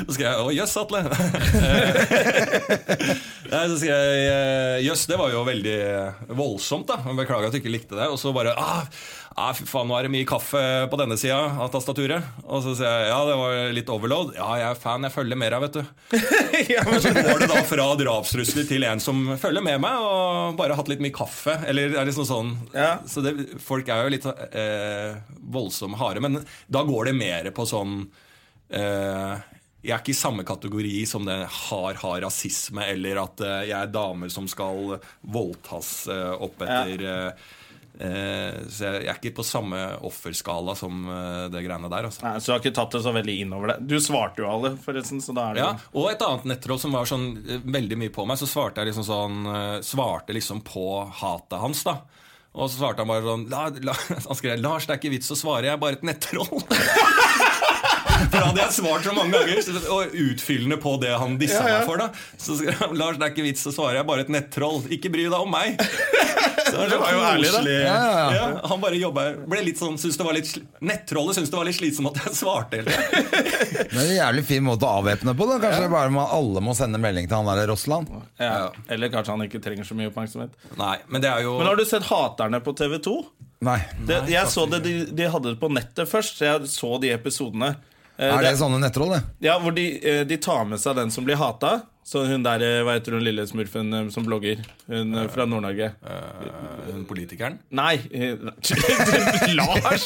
Speaker 3: så skrev jeg 'Å, jøss, Atle'. Eh, Nei, så skrev jeg eh, 'Jøss, det var jo veldig eh, voldsomt', da. Jeg Beklager at du ikke likte det. Og så bare ah, ah, 'Fy faen, nå er det mye kaffe på denne sida av tastaturet'. Og så sier jeg 'Ja, det var litt overload'. 'Ja, jeg er fan, jeg følger mer av, vet du'. Og så går det da fra drapstrusler til en som følger med meg, og bare har hatt litt mye kaffe. Eller det er liksom sånn
Speaker 1: Ja.
Speaker 3: Så det, folk er jo litt eh, voldsomme harde, men da går det mer på sånn eh, jeg er ikke i samme kategori som det har har rasisme, eller at eh, jeg er damer som skal voldtas eh, opp etter eh, eh, Så jeg, jeg er ikke på samme offerskala som eh, det greiene der. Altså.
Speaker 1: Nei, Så du har ikke tatt det så veldig inn over deg. Du svarte jo alle, forresten. Så da er det
Speaker 3: Ja,
Speaker 1: jo-
Speaker 3: og et annet nettroll som var sånn eh, veldig mye på meg, så svarte jeg liksom sånn eh, Svarte liksom på hatet hans, da. Og så svarte han bare sånn la, la, [LAUGHS] Han skrev 'Lars, det er ikke vits å svare, jeg er bare et nettroll'. [LAUGHS] For da hadde jeg svart så mange ganger, så- og utfyllende på det han dissa meg for. da Så skrev han 'Lars, det er ikke vits å svare, jeg er bare et nettroll'. Ikke bry deg om meg. [LAUGHS] Så det,
Speaker 1: Det var jo ærlig, da.
Speaker 3: Ja, han bare jobba Ble litt sånn syntes det var litt sli- Nettrollet syntes det var litt slitsomt at jeg svarte hele tiden.
Speaker 2: Det er en jævlig fin måte å avvæpne på. da Kanskje det er bare må, alle må sende melding til han der Rossland.
Speaker 1: Ja. Eller kanskje han ikke trenger så mye oppmerksomhet.
Speaker 3: [LAUGHS] Nei, men det er jo
Speaker 1: Men har du sett Haterne på TV2?
Speaker 2: Nei.
Speaker 1: Det, jeg så det, de, de hadde det på nettet først. så Jeg så de episodene. Eh,
Speaker 2: Er det
Speaker 3: sånn?
Speaker 1: det-
Speaker 2: sånne nettroll, det?
Speaker 1: Ja, Hvor de, eh, de tar med seg den som blir hata. Så hun der, eh, hva heter hun lille smurfen eh, som blogger? Hun eh, fra Nord-Norge.
Speaker 3: Hun politikeren?
Speaker 1: Nei! [LAUGHS] eh, Lars!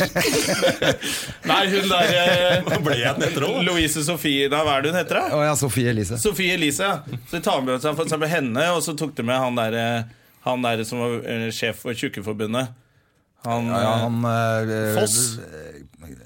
Speaker 1: Nei, hun der eh,
Speaker 3: Ble jeg et nettroll?
Speaker 1: Louise Sofie Nei, hva er det hun heter? da?
Speaker 2: Å ja, Sofie Elise.
Speaker 1: Sofie Elise, ja. Så de tar med seg for eksempel henne, og så tok de med han der, eh, han der som var eh, sjef for Tjukkeforbundet. Han,
Speaker 2: Ja, ja, han eh,
Speaker 1: Foss.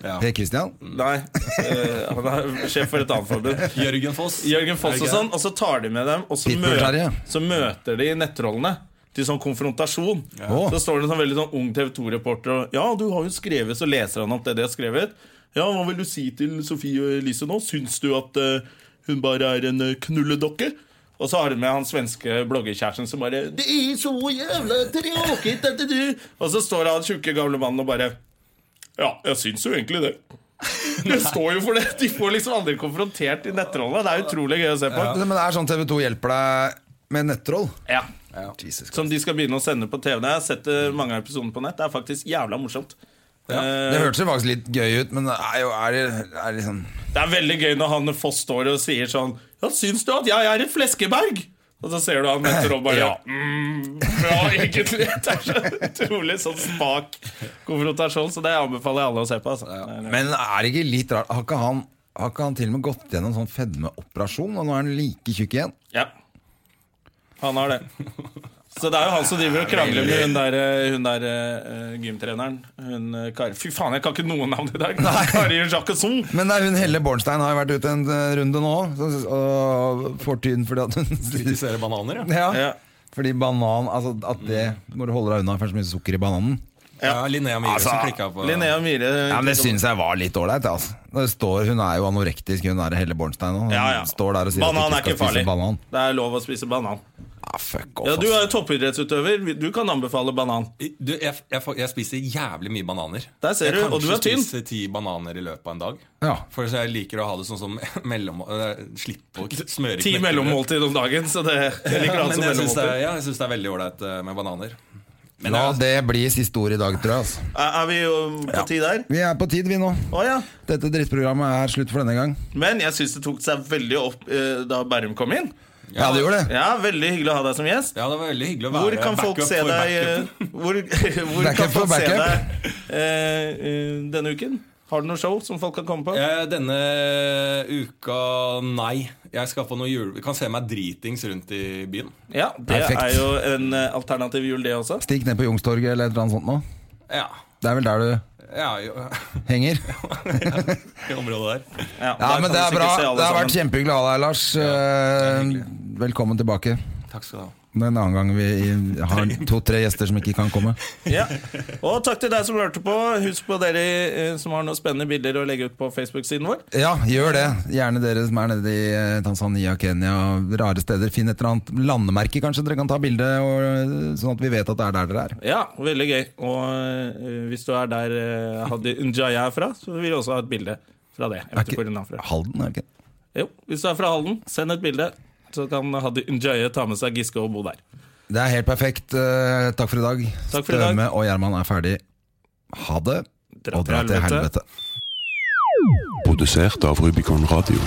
Speaker 3: Ja.
Speaker 2: Per Christian?
Speaker 1: Nei, eh, han er sjef for et annet forbund.
Speaker 3: [LAUGHS] Jørgen Foss.
Speaker 1: Jørgen Foss og
Speaker 3: Er det ikke
Speaker 1: sånn, og så tar de med dem, og så,
Speaker 2: Pitbull
Speaker 1: mø
Speaker 2: Terje.
Speaker 1: så møter de nettrollene. Til sånn konfrontasjon.
Speaker 2: Å.
Speaker 1: Så står det en sånn veldig sånn ung TV 2-reporter og Ja, du har jo skrevet, så leser han opp det de har skrevet. Ja, hva vil du si til Sofie Elise nå? Syns du at eh, hun bare er en eh, knulledokke? Og så har hun med han svenske bloggerkjæresten som bare Det er så jævla tråkig dette du Og så står han tjukke gamle mannen og bare Ja, jeg syns jo egentlig [LAUGHS] det. Det står jo for det. De får liksom aldri konfrontert de nettrollene. Det er utrolig gøy å se på.
Speaker 2: Men det er sånn TV2 hjelper deg med nettroll?
Speaker 1: Ja.
Speaker 2: Jesus
Speaker 1: Som de skal begynne å sende på TV. Jeg har sett eh, mange av episodene på nett. Det er faktisk jævla morsomt. Eh,
Speaker 2: Det hørtes jo faktisk litt gøy ut, men det er jo er det, er det liksom
Speaker 1: det er veldig gøy når han Foss står og sier sånn Ja, syns du at jeg er et fleskeberg? Og så ser du han nettopp og bare Ja, mm, bra, egentlig. Det er så utrolig sånn spak konfrontasjon, så det anbefaler jeg alle å se på. Altså.
Speaker 2: Men er det ikke litt rart? Har ikke han, har ikke han til og med gått gjennom sånn fedmeoperasjon, og nå er han like tjukk igjen?
Speaker 1: Ja. Han har det. Så det er jo han som driver og krangler med hun der, eh, hun der eh, gymtreneren. Hun eh, Kari Fy faen, jeg kan ikke noe navn i dag! Kari Jacquesson.
Speaker 2: Men det er hun Helle Bornstein har jo vært ute en eh, runde nå, så- og får tyn fordi at hun [LAUGHS]
Speaker 3: Kritiserer bananer, ja.
Speaker 2: ja.
Speaker 1: Ja.
Speaker 2: Fordi banan Altså at det må du holde deg unna, for det er så mye sukker i bananen.
Speaker 3: ja. Linnea Myhre som klikka på
Speaker 1: Altså, Linnea Myhre.
Speaker 2: Ja, men Det syns jeg var litt ålreit. Altså. Når det står- Hun er jo anorektisk, hun er Helle Bornstein nå. Hun
Speaker 1: Ja, ja.
Speaker 2: Står der og sier
Speaker 1: banan
Speaker 2: at du
Speaker 1: er ikke
Speaker 2: ikke skal
Speaker 1: farlig.
Speaker 2: spise banan.
Speaker 1: Det er lov å spise banan.
Speaker 2: Ah, fuck off,
Speaker 1: Ja, Du
Speaker 2: ass.
Speaker 1: er jo toppidrettsutøver. Du kan anbefale banan.
Speaker 3: Du, jeg, jeg, får- jeg spiser jævlig mye bananer.
Speaker 1: Der ser du,
Speaker 3: jeg
Speaker 1: og du er tynn.
Speaker 3: Jeg spiser ti bananer i løpet av en dag.
Speaker 2: Ja.
Speaker 3: For så jeg liker å ha det sånn som [LAUGHS] mellom... eh, Slippe å k- smøre
Speaker 1: Ti
Speaker 3: knekkebrød.
Speaker 1: mellommåltid om dagen, så det jeg liker
Speaker 3: Ja,
Speaker 1: alt
Speaker 3: men
Speaker 1: som
Speaker 3: jeg syns det,
Speaker 1: mellommåltid.
Speaker 3: er- ja, jeg syns det er veldig ålreit eh, med bananer. Men
Speaker 2: La
Speaker 1: altså-
Speaker 3: jeg,
Speaker 2: det bli siste ord i dag, tror jeg. Altså.
Speaker 1: Er er vi jo på ti der?
Speaker 2: Vi er på tid, vi nå.
Speaker 1: Å ja.
Speaker 2: Dette drittprogrammet er slutt for denne gang.
Speaker 1: Men jeg syns det tok seg veldig opp eh, da Bærum kom inn.
Speaker 2: Ja, det gjorde det.
Speaker 1: Ja, Veldig hyggelig å ha deg som gjest.
Speaker 3: ja, det var veldig hyggelig å være
Speaker 1: Hvor kan folk
Speaker 3: backup
Speaker 1: se
Speaker 3: for
Speaker 1: deg
Speaker 3: backupen.
Speaker 1: eh, [LAUGHS] Hvor, hvor
Speaker 2: Backup
Speaker 1: kan
Speaker 2: for
Speaker 1: folk se
Speaker 2: backup.
Speaker 1: deg eh, eh, denne uken? Har du noe show som folk kan komme på?
Speaker 3: Eh, Denne uka nei. Jeg skal på noe jule... Du kan se meg dritings rundt i byen.
Speaker 1: Ja, Det
Speaker 2: Perfekt.
Speaker 1: er jo en eh, alternativ jul, det også.
Speaker 2: Stikk ned på Youngstorget eller et eller annet sånt nå.
Speaker 3: Ja.
Speaker 2: Det er vel der du
Speaker 3: ja jo, [LAUGHS]
Speaker 2: henger.
Speaker 3: I området der.
Speaker 2: Ja,
Speaker 1: der
Speaker 2: men det er
Speaker 1: kan vi sikkert
Speaker 2: bra. Det
Speaker 1: se alle
Speaker 2: har vært
Speaker 1: sammen.
Speaker 2: kjempehyggelig å ha deg, Lars. Eh, Velkommen tilbake.
Speaker 3: Takk skal du ha.
Speaker 2: en annen gang vi
Speaker 1: [LAUGHS]
Speaker 2: har to-tre gjester som ikke kan komme.
Speaker 1: Ja. Og takk til deg som hørte på. Husk på dere eh, som har noen spennende bilder å legge ut på Facebook-siden vår.
Speaker 2: Ja, gjør det. Gjerne dere som er nede i eh, Tanzania, Kenya, rare steder. Finn et eller annet landemerke, kanskje dere kan ta bilde, og, eh, sånn at vi vet at det er der dere er.
Speaker 1: Ja, veldig gøy. Og eh, hvis du er der eh, Hadi Njaya er fra, så vil vi også ha et bilde fra det. Jeg
Speaker 2: Er
Speaker 1: vet ikke
Speaker 2: ikke
Speaker 1: hvor hun er fra.
Speaker 2: Halden, er det ikke?
Speaker 1: Jo, hvis du er fra Halden, send et bilde. Så kan Hadi Njaya ta med seg Giske og bo der.
Speaker 2: Det er helt perfekt. Eh, Takk for i dag.
Speaker 1: Takk for i dag.
Speaker 2: Støme og Gjerman er ferdig. Ha det,
Speaker 1: Dra
Speaker 2: og dra til helvete.
Speaker 5: Produsert av Rubicon Radio.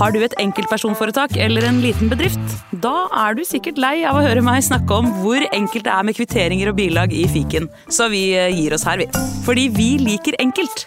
Speaker 4: Har du et enkeltpersonforetak eller en liten bedrift? Da er du sikkert lei av å høre meg snakke om hvor enkelt det er med kvitteringer og bilag i fiken, så vi eh, gir oss her, vi. Fordi vi liker enkelt.